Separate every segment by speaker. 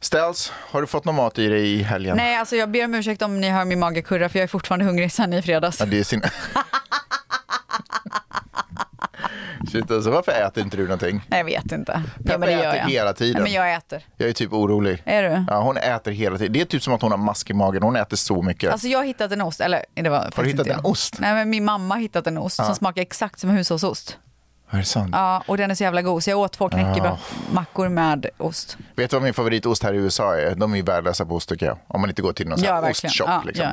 Speaker 1: Ställs, har du fått någon mat i dig i helgen?
Speaker 2: Nej, alltså jag ber om ursäkt om ni hör min mage kurra för jag är fortfarande hungrig sen i fredags.
Speaker 1: Ja, det är sin... Shit, alltså, varför äter inte du någonting?
Speaker 2: Nej, jag vet inte.
Speaker 1: Peppa äter hela tiden.
Speaker 2: Nej, men jag äter.
Speaker 1: Jag är typ orolig.
Speaker 2: Är du?
Speaker 1: Ja, hon äter hela tiden. Det är typ som att hon har mask i magen. Hon äter så mycket.
Speaker 2: Alltså jag har hittat en ost, eller det var
Speaker 1: har
Speaker 2: faktiskt
Speaker 1: du hittat
Speaker 2: inte
Speaker 1: en
Speaker 2: jag.
Speaker 1: ost?
Speaker 2: Nej men min mamma har hittat en ost som smakar exakt som hushållsost.
Speaker 1: Är det sant?
Speaker 2: Ja, och den är så jävla god. Så jag åt två knäckemackor med ost.
Speaker 1: Vet du vad min favoritost här i USA är? De är ju värdelösa på ost tycker jag. Om man inte går till någon sån
Speaker 2: Ja,
Speaker 1: här
Speaker 2: verkligen.
Speaker 1: ostshop.
Speaker 2: Ja,
Speaker 1: liksom.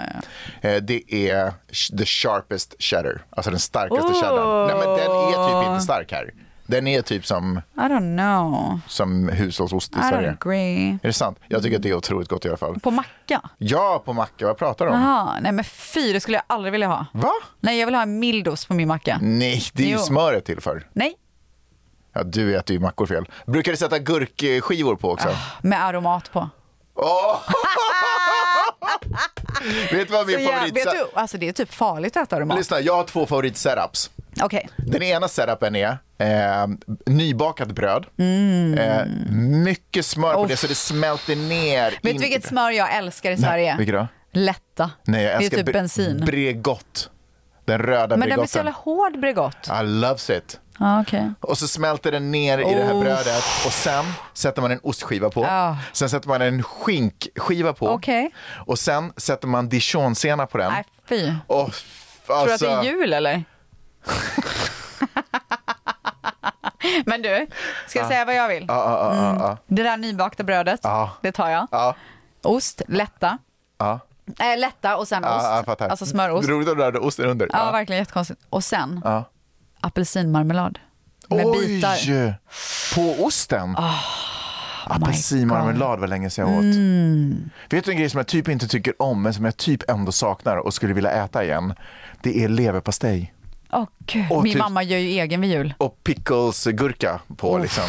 Speaker 2: ja,
Speaker 1: Eh, Det är sh- the sharpest cheddar. Alltså den starkaste
Speaker 2: Oh.
Speaker 1: cheddarn. Nej men den är typ inte stark här. Den är typ som,
Speaker 2: I don't know.
Speaker 1: som hushållsost i
Speaker 2: I
Speaker 1: Sverige.
Speaker 2: don't agree.
Speaker 1: Är det sant? Jag tycker att det är otroligt gott i alla fall.
Speaker 2: På macka?
Speaker 1: Ja, på macka. Vad pratar du om?
Speaker 2: Jaha, nej men fy, det skulle jag aldrig vilja ha.
Speaker 1: Va?
Speaker 2: Nej, jag vill ha en mild ost på min macka.
Speaker 1: Nej, det är ju
Speaker 2: Jo.
Speaker 1: smöret till för.
Speaker 2: Nej,
Speaker 1: Ja, du äter ju mackor fel. Brukar du sätta gurkskivor på också?
Speaker 2: med aromat på.
Speaker 1: Åh! vet du vad min
Speaker 2: Så jag,
Speaker 1: favorit...
Speaker 2: vet du, alltså det är typ farligt att äta aromat.
Speaker 1: Lyssna, jag har två favoritsetups.
Speaker 2: Okej,
Speaker 1: Den ena setupen är eh, nybakat bröd,
Speaker 2: Mm.
Speaker 1: eh, mycket smör på
Speaker 2: Oh.
Speaker 1: det så det smälter ner.
Speaker 2: vet
Speaker 1: in-
Speaker 2: du vilket smör jag älskar i
Speaker 1: Nej,
Speaker 2: Sverige?
Speaker 1: Vilket då?
Speaker 2: Lätta.
Speaker 1: Nej, jag
Speaker 2: det är
Speaker 1: älskar
Speaker 2: typ
Speaker 1: bre-
Speaker 2: bensin.
Speaker 1: Bregott. Den röda
Speaker 2: men den blir så jävla
Speaker 1: Bregotten.
Speaker 2: hård Bregott.
Speaker 1: I loves it.
Speaker 2: Ja, okej.
Speaker 1: Och så smälter den ner i det här
Speaker 2: Oh.
Speaker 1: brödet och sen sätter man en ostskiva på.
Speaker 2: Ja.
Speaker 1: Sen sätter man en skinkskiva på.
Speaker 2: Okej.
Speaker 1: Och sen sätter man dijonsenap på den. alltså.
Speaker 2: Nej, fy. Tror
Speaker 1: Och,
Speaker 2: du att det är jul eller? men du, ska jag säga vad jag vill?
Speaker 1: Ja, ja, ja, ja,
Speaker 2: Det där nybakta brödet,
Speaker 1: Ja.
Speaker 2: det tar jag.
Speaker 1: ja.
Speaker 2: Ost, lätta.
Speaker 1: Ja,
Speaker 2: Äh, lätta och sen
Speaker 1: ja,
Speaker 2: ost.
Speaker 1: ja, jag fattar.
Speaker 2: alltså smörost.
Speaker 1: Roligt om du hade osten under.
Speaker 2: Ja, verkligen jättekonstigt. Och sen
Speaker 1: Ja.
Speaker 2: apelsinmarmelad. Med
Speaker 1: Oj!
Speaker 2: bitar. Oh
Speaker 1: På osten? Apelsinmarmelad var länge sedan jag åt.
Speaker 2: Mm.
Speaker 1: Vet du en grej som jag typ inte tycker om men som jag typ ändå saknar och skulle vilja äta igen? Det är leverpastej.
Speaker 2: Åh gud,
Speaker 1: Och
Speaker 2: min
Speaker 1: typ-
Speaker 2: mamma gör ju egen vid jul.
Speaker 1: Och pickles-gurka på liksom.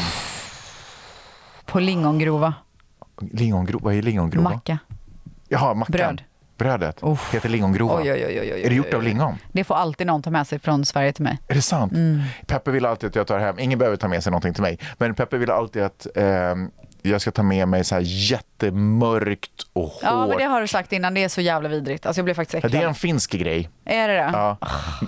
Speaker 2: På lingongrova.
Speaker 1: Lingongrova, vad är lingongrova?
Speaker 2: Macka.
Speaker 1: Jaha, mackan.
Speaker 2: Bröd.
Speaker 1: Brödet
Speaker 2: Uff.
Speaker 1: heter lingongrova.
Speaker 2: Oj, oj, oj, oj, oj,
Speaker 1: är det gjort
Speaker 2: oj,
Speaker 1: av
Speaker 2: oj.
Speaker 1: lingon?
Speaker 2: Det får alltid någon ta med sig från Sverige till mig.
Speaker 1: Är det sant?
Speaker 2: Mm.
Speaker 1: Peppe vill alltid att jag tar hem, ingen behöver ta med sig någonting till mig, men Peppe vill alltid att ehm, jag ska ta med mig så här jättemörkt och hårt.
Speaker 2: Ja, men det har du sagt innan. Det är så jävla vidrigt. Alltså jag blev faktiskt
Speaker 1: Ja,
Speaker 2: äcklad.
Speaker 1: det är en finsk grej.
Speaker 2: Är det det?
Speaker 1: Ja.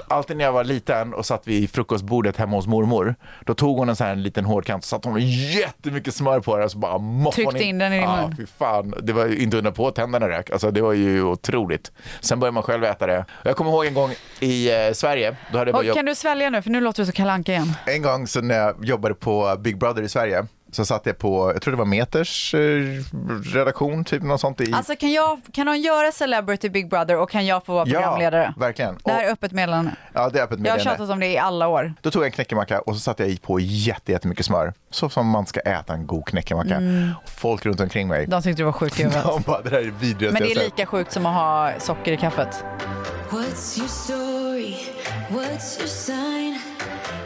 Speaker 1: Alltid när jag var liten och satt vid frukostbordet hemma hos mormor, då tog hon en sån här liten hårdkant och satte hon jättemycket smör på det och så bara moffade
Speaker 2: Tryckte in den i din
Speaker 1: ja,
Speaker 2: mun.
Speaker 1: fy fan. Det var ju inte undra på att tänderna rök. Alltså, det var ju otroligt. Sen började man själv äta det. Jag kommer ihåg en gång i eh, Sverige, då hade jag bara
Speaker 2: Och kan du svälja nu? För nu låter du så kalanka igen.
Speaker 1: En gång så när jag jobbade på Big Brother i Sverige så satt jag på, jag tror det var Meters eh, redaktion, typ något sånt. I...
Speaker 2: Alltså kan, jag, kan de göra Celebrity Big Brother och kan jag få vara programledare?
Speaker 1: Ja, verkligen.
Speaker 2: Det här
Speaker 1: Och-
Speaker 2: är öppet meddelande.
Speaker 1: ja, det är öppet
Speaker 2: Jag har
Speaker 1: meddelande.
Speaker 2: tjatat om det i alla år.
Speaker 1: Då tog jag en knäckemacka och så satte jag i på jätte, jättemycket smör. Så som man ska äta en god knäckemacka.
Speaker 2: Mm.
Speaker 1: Och folk runt omkring mig,
Speaker 2: De tyckte du var sjuk i huvudet.
Speaker 1: de bara, det där är det
Speaker 2: Men
Speaker 1: vidrigaste
Speaker 2: det är
Speaker 1: jag sett.
Speaker 2: lika sjukt som att ha socker i kaffet.
Speaker 3: What's your story? What's your sign?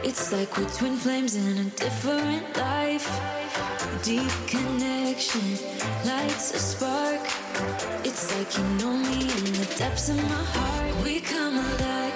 Speaker 3: It's like we're twin flames in a different life. Deep connection lights a spark. It's like you know me in the depths of my heart. We come alive.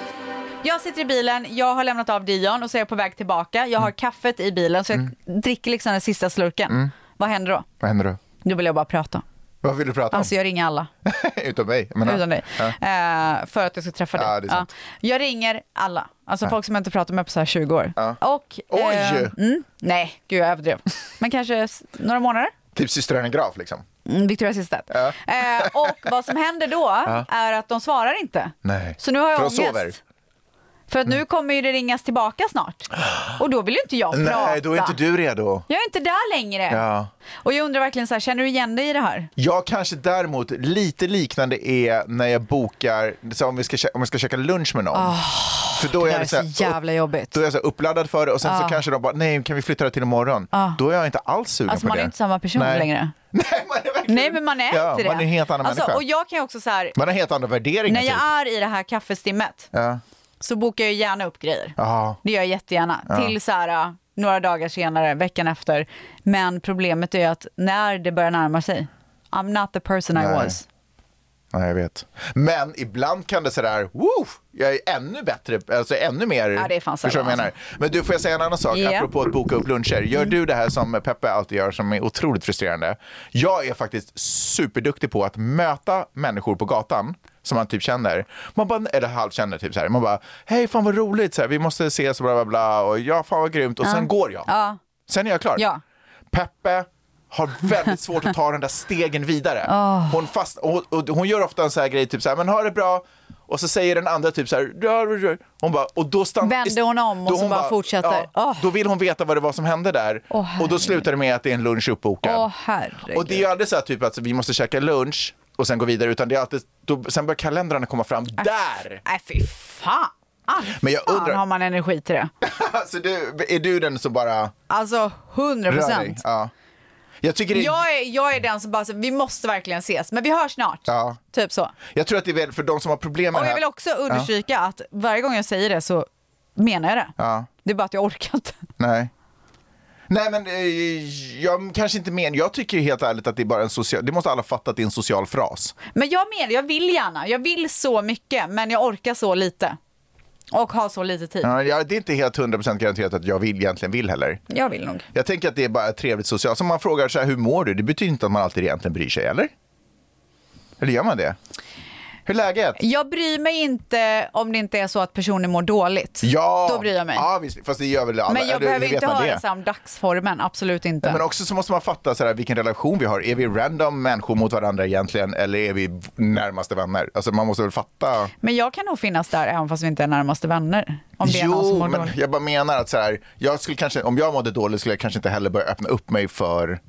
Speaker 2: Jag sitter i bilen, jag har lämnat av Dion och så är jag på väg tillbaka. Jag
Speaker 1: Mm.
Speaker 2: har kaffet i bilen så jag dricker liksom den sista slurken. Vad händer då?
Speaker 1: Vad händer då?
Speaker 2: Då vill jag bara prata.
Speaker 1: Vad vill du prata om?
Speaker 2: Alltså jag ringer alla.
Speaker 1: Utom mig? Jag menar.
Speaker 2: utan dig. Eh, för att jag ska träffa dig.
Speaker 1: Ja, det är sant.
Speaker 2: Jag ringer alla. Alltså folk som jag inte pratat med på så här 20 år. Och,
Speaker 1: Oj!
Speaker 2: mm, nej, gud jag överdrev. Men kanske s- några månader.
Speaker 1: Typ systrarna Graf liksom.
Speaker 2: Mm, Victoria Silvstedt. Eh, och vad som händer då är att de svarar inte.
Speaker 1: Nej.
Speaker 2: Så nu har jag
Speaker 1: För de
Speaker 2: ångest.
Speaker 1: sover. Mm.
Speaker 2: För att nu kommer ju det ringas tillbaka snart. Och då vill ju inte jag prata.
Speaker 1: Nej, då är inte du redo.
Speaker 2: Jag är inte där längre.
Speaker 1: Ja.
Speaker 2: Och jag undrar verkligen så här, känner du igen dig i det här?
Speaker 1: Jag kanske däremot lite liknande är när jag bokar, så om, vi ska, kä- om jag ska käka lunch med någon. för då
Speaker 2: Ah, Det
Speaker 1: är
Speaker 2: där är
Speaker 1: jag, så
Speaker 2: så
Speaker 1: här,
Speaker 2: jävla Ah. jobbigt.
Speaker 1: då är jag så här uppladdad för det och sen så kanske de bara, nej kan vi flytta det till imorgon? Då är jag inte alls sugen
Speaker 2: Ah. Alltså
Speaker 1: på
Speaker 2: man
Speaker 1: det.
Speaker 2: är inte samma person
Speaker 1: Nej.
Speaker 2: längre.
Speaker 1: Nej, man är verkligen...
Speaker 2: Nej men man är
Speaker 1: ja,
Speaker 2: inte det.
Speaker 1: Man är en helt annan
Speaker 2: alltså,
Speaker 1: människa.
Speaker 2: Och jag kan ju också så här,
Speaker 1: Man har helt andra värderingar.
Speaker 2: när jag
Speaker 1: typ.
Speaker 2: är i det här kaffestimmet
Speaker 1: ja.
Speaker 2: så bokar jag gärna upp grejer.
Speaker 1: Ja.
Speaker 2: Det gör jag jättegärna. Till så här, äh, några dagar senare, veckan efter. Men problemet är att när det börjar närma sig, I'm not the person I
Speaker 1: Nej.
Speaker 2: was.
Speaker 1: Nej, jag vet. Men ibland kan det sådär, woo, jag är ännu bättre, alltså ännu mer.
Speaker 2: Ja, det är fan
Speaker 1: förstår du vad jag
Speaker 2: sällan, alltså.
Speaker 1: menar? Men du, får jag säga en annan sak
Speaker 2: Ja.
Speaker 1: apropå att boka upp luncher? Gör du det här som Peppe alltid gör som är otroligt frustrerande? Jag är faktiskt superduktig på att möta människor på gatan som man typ känner, man bara, eller halvkänner typ så här. man bara, hej fan vad roligt, så här, vi måste ses och bla bla bla och ja fan vad grymt och sen går jag.
Speaker 2: Ja.
Speaker 1: Sen är jag klar.
Speaker 2: Ja.
Speaker 1: Peppe har väldigt svårt att ta den där stegen vidare. Hon, fast, och, hon- och hon gör ofta en sån här grej, typ så här, men ha det bra. Och så säger den andra typ så här, "Ja, ja, ja." hon bara, och då stannar...
Speaker 2: Vänder hon om och
Speaker 1: då
Speaker 2: så
Speaker 1: hon
Speaker 2: bara fortsätter.
Speaker 1: Ja,
Speaker 2: Åh.
Speaker 1: Då vill hon veta vad det var som hände där.
Speaker 2: Åh,
Speaker 1: och då
Speaker 2: herregud.
Speaker 1: slutar det med att det är en lunch uppbokad.
Speaker 2: Åh, herregud.
Speaker 1: och det är ju aldrig så här typ att vi måste käka lunch och sen gå vidare, utan det är alltid, då, sen börjar kalendrarna komma fram där.
Speaker 2: Nej, fy fan. Ah,
Speaker 1: Men jag
Speaker 2: Fan
Speaker 1: undrar-
Speaker 2: har man energi till det.
Speaker 1: så du, är du den som bara
Speaker 2: Alltså, hundra
Speaker 1: rör dig?
Speaker 2: procent.
Speaker 1: Ja. Jag tycker det är
Speaker 2: Jag är, jag är den som bara, så, vi måste verkligen ses, men vi hörs snart.
Speaker 1: Ja.
Speaker 2: Typ så.
Speaker 1: Jag tror att det är väl för de som har problem med
Speaker 2: Och
Speaker 1: det
Speaker 2: jag
Speaker 1: här.
Speaker 2: vill också understryka att varje gång jag säger det så menar jag det.
Speaker 1: Ja.
Speaker 2: Det är bara att jag orkar inte.
Speaker 1: Nej. Nej men eh, jag kanske inte menar, jag tycker ju helt ärligt att det är bara en social, det måste alla fatta att det är en social fras.
Speaker 2: Men jag menar, jag vill gärna. Jag vill så mycket, men jag orkar så lite. Och har så lite tid.
Speaker 1: Ja, jag- det är inte helt 100% garanterat att jag vill, egentligen vill heller.
Speaker 2: Jag vill nog.
Speaker 1: Jag tänker att det är bara ett trevligt socialt, som man frågar så här, hur mår du? Det betyder inte att man alltid egentligen bryr sig, eller? Eller gör man det? Hur är läget?
Speaker 2: Jag bryr mig inte om det inte är så att personen mår dåligt.
Speaker 1: Ja!
Speaker 2: Då bryr jag mig.
Speaker 1: Ja, visst, fast det gör väl alla.
Speaker 2: men jag
Speaker 1: Eller hur
Speaker 2: behöver
Speaker 1: vet
Speaker 2: inte
Speaker 1: man
Speaker 2: höra
Speaker 1: det?
Speaker 2: det? om dagsformen, absolut inte.
Speaker 1: Men också så måste man fatta så här, vilken relation vi har. Är vi random människor mot varandra egentligen eller är vi v- närmaste vänner? Alltså man måste väl fatta.
Speaker 2: Men jag kan nog finnas där även fast vi inte är närmaste vänner. Om det är någon som mår
Speaker 1: men
Speaker 2: dåligt.
Speaker 1: jag bara menar att så här, jag skulle kanske, om jag mådde dåligt skulle jag kanske inte heller börja öppna upp mig för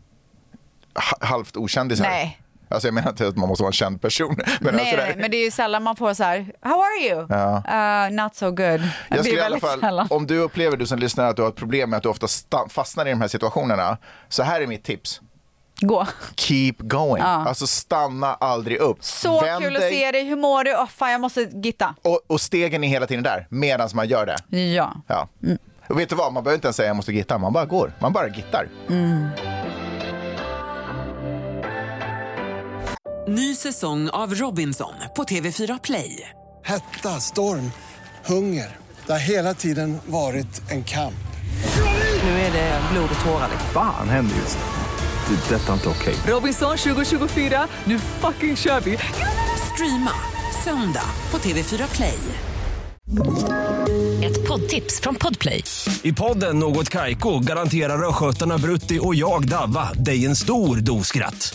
Speaker 1: ha- halvt okändisar.
Speaker 2: Nej.
Speaker 1: Alltså jag menar inte att man måste vara en känd person. Men
Speaker 2: Nej,
Speaker 1: alltså det-
Speaker 2: nej, men det är ju sällan man får så här, how are you? Uh, not so good.
Speaker 1: jag
Speaker 2: det är
Speaker 1: skulle i alla
Speaker 2: väldigt
Speaker 1: fall,
Speaker 2: sällan.
Speaker 1: om du upplever du som lyssnar att du har ett problem med att du ofta sta- fastnar i de här situationerna, så här är mitt tips.
Speaker 2: Gå.
Speaker 1: Keep going. Alltså stanna aldrig upp.
Speaker 2: Så
Speaker 1: Vänd
Speaker 2: kul att
Speaker 1: dig
Speaker 2: se dig, hur mår du? Åh fan, jag måste gitta.
Speaker 1: Och, och stegen är hela tiden där, medan man gör det.
Speaker 2: Ja.
Speaker 1: Ja. Och vet du vad, man behöver inte ens säga jag måste gitta, man bara går. Man bara gittar.
Speaker 4: Ny säsong av Robinson på TV4 Play.
Speaker 5: Hetta, storm, hunger. Det har hela tiden varit en kamp.
Speaker 4: Nu är det blod och tårar.
Speaker 6: Fan händer just nu. det. är Detta är inte okej.
Speaker 4: Robinson 2024, nu fucking kör vi! Streama söndag på TV4 Play.
Speaker 7: Ett poddtips från Podplay.
Speaker 8: I podden Något Kaiko garanterar östgötarna Brutti och jag, Davva, dig en stor dos skratt.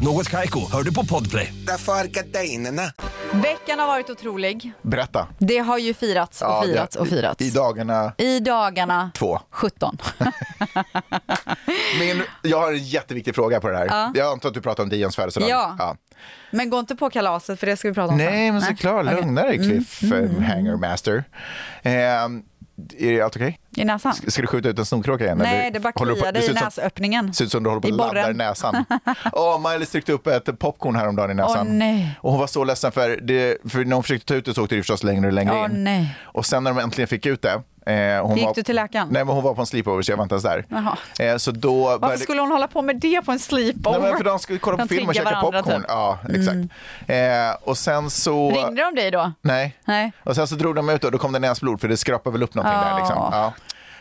Speaker 8: Något Kaiko, hör du på Podplay.
Speaker 9: Därför är gardinerna.
Speaker 2: Veckan har varit otrolig.
Speaker 1: Berätta.
Speaker 2: Det har ju firats och
Speaker 1: Ja, det-
Speaker 2: firats och firats.
Speaker 1: I, I dagarna
Speaker 2: I dagarna
Speaker 1: två.
Speaker 2: 17.
Speaker 1: Min, jag har en jätteviktig fråga på det här. Jag antar att du pratar om Dions födelsedag.
Speaker 2: Ja. Men gå inte på kalaset för det ska vi prata om
Speaker 1: Nej, men såklart.
Speaker 2: Okej.
Speaker 1: Lugna dig, Cliff mm. Hangermaster. Ehm, är det allt okej?
Speaker 2: I näsan?
Speaker 1: Ska du skjuta ut en snorkråka igen?
Speaker 2: Nej,
Speaker 1: eller
Speaker 2: det bara
Speaker 1: håller du på-
Speaker 2: kliade
Speaker 1: ser
Speaker 2: i
Speaker 1: ut som-
Speaker 2: näsöppningen.
Speaker 1: ser ut som du håller på
Speaker 2: I
Speaker 1: att ladda i
Speaker 2: borren.
Speaker 1: näsan. Åh, Miley tryckte upp ett popcorn häromdagen i näsan.
Speaker 2: Åh, nej.
Speaker 1: Och hon var så ledsen för, det, för när hon försökte ta ut det så åkte det förstås längre och längre
Speaker 2: Åh,
Speaker 1: in.
Speaker 2: nej.
Speaker 1: Och sen när de äntligen fick ut det. Eh, hon
Speaker 2: Gick
Speaker 1: var,
Speaker 2: du till läkaren?
Speaker 1: Nej, men hon var på en sleepover så jag var inte ens där.
Speaker 2: Jaha.
Speaker 1: Eh, så då
Speaker 2: Varför skulle hon hålla på med det på en sleepover?
Speaker 1: Nej, men för de skulle kolla på
Speaker 2: De
Speaker 1: film och
Speaker 2: triggar
Speaker 1: käka
Speaker 2: varandra,
Speaker 1: popcorn.
Speaker 2: typ. Mm.
Speaker 1: Ja, exakt. Eh, och sen så...
Speaker 2: Ringde de dig då?
Speaker 1: Nej.
Speaker 2: Nej.
Speaker 1: Och sen så drog de ut och då kom det näsblod för det skrapade väl upp någonting där.
Speaker 2: Ja.
Speaker 1: Liksom. Ja.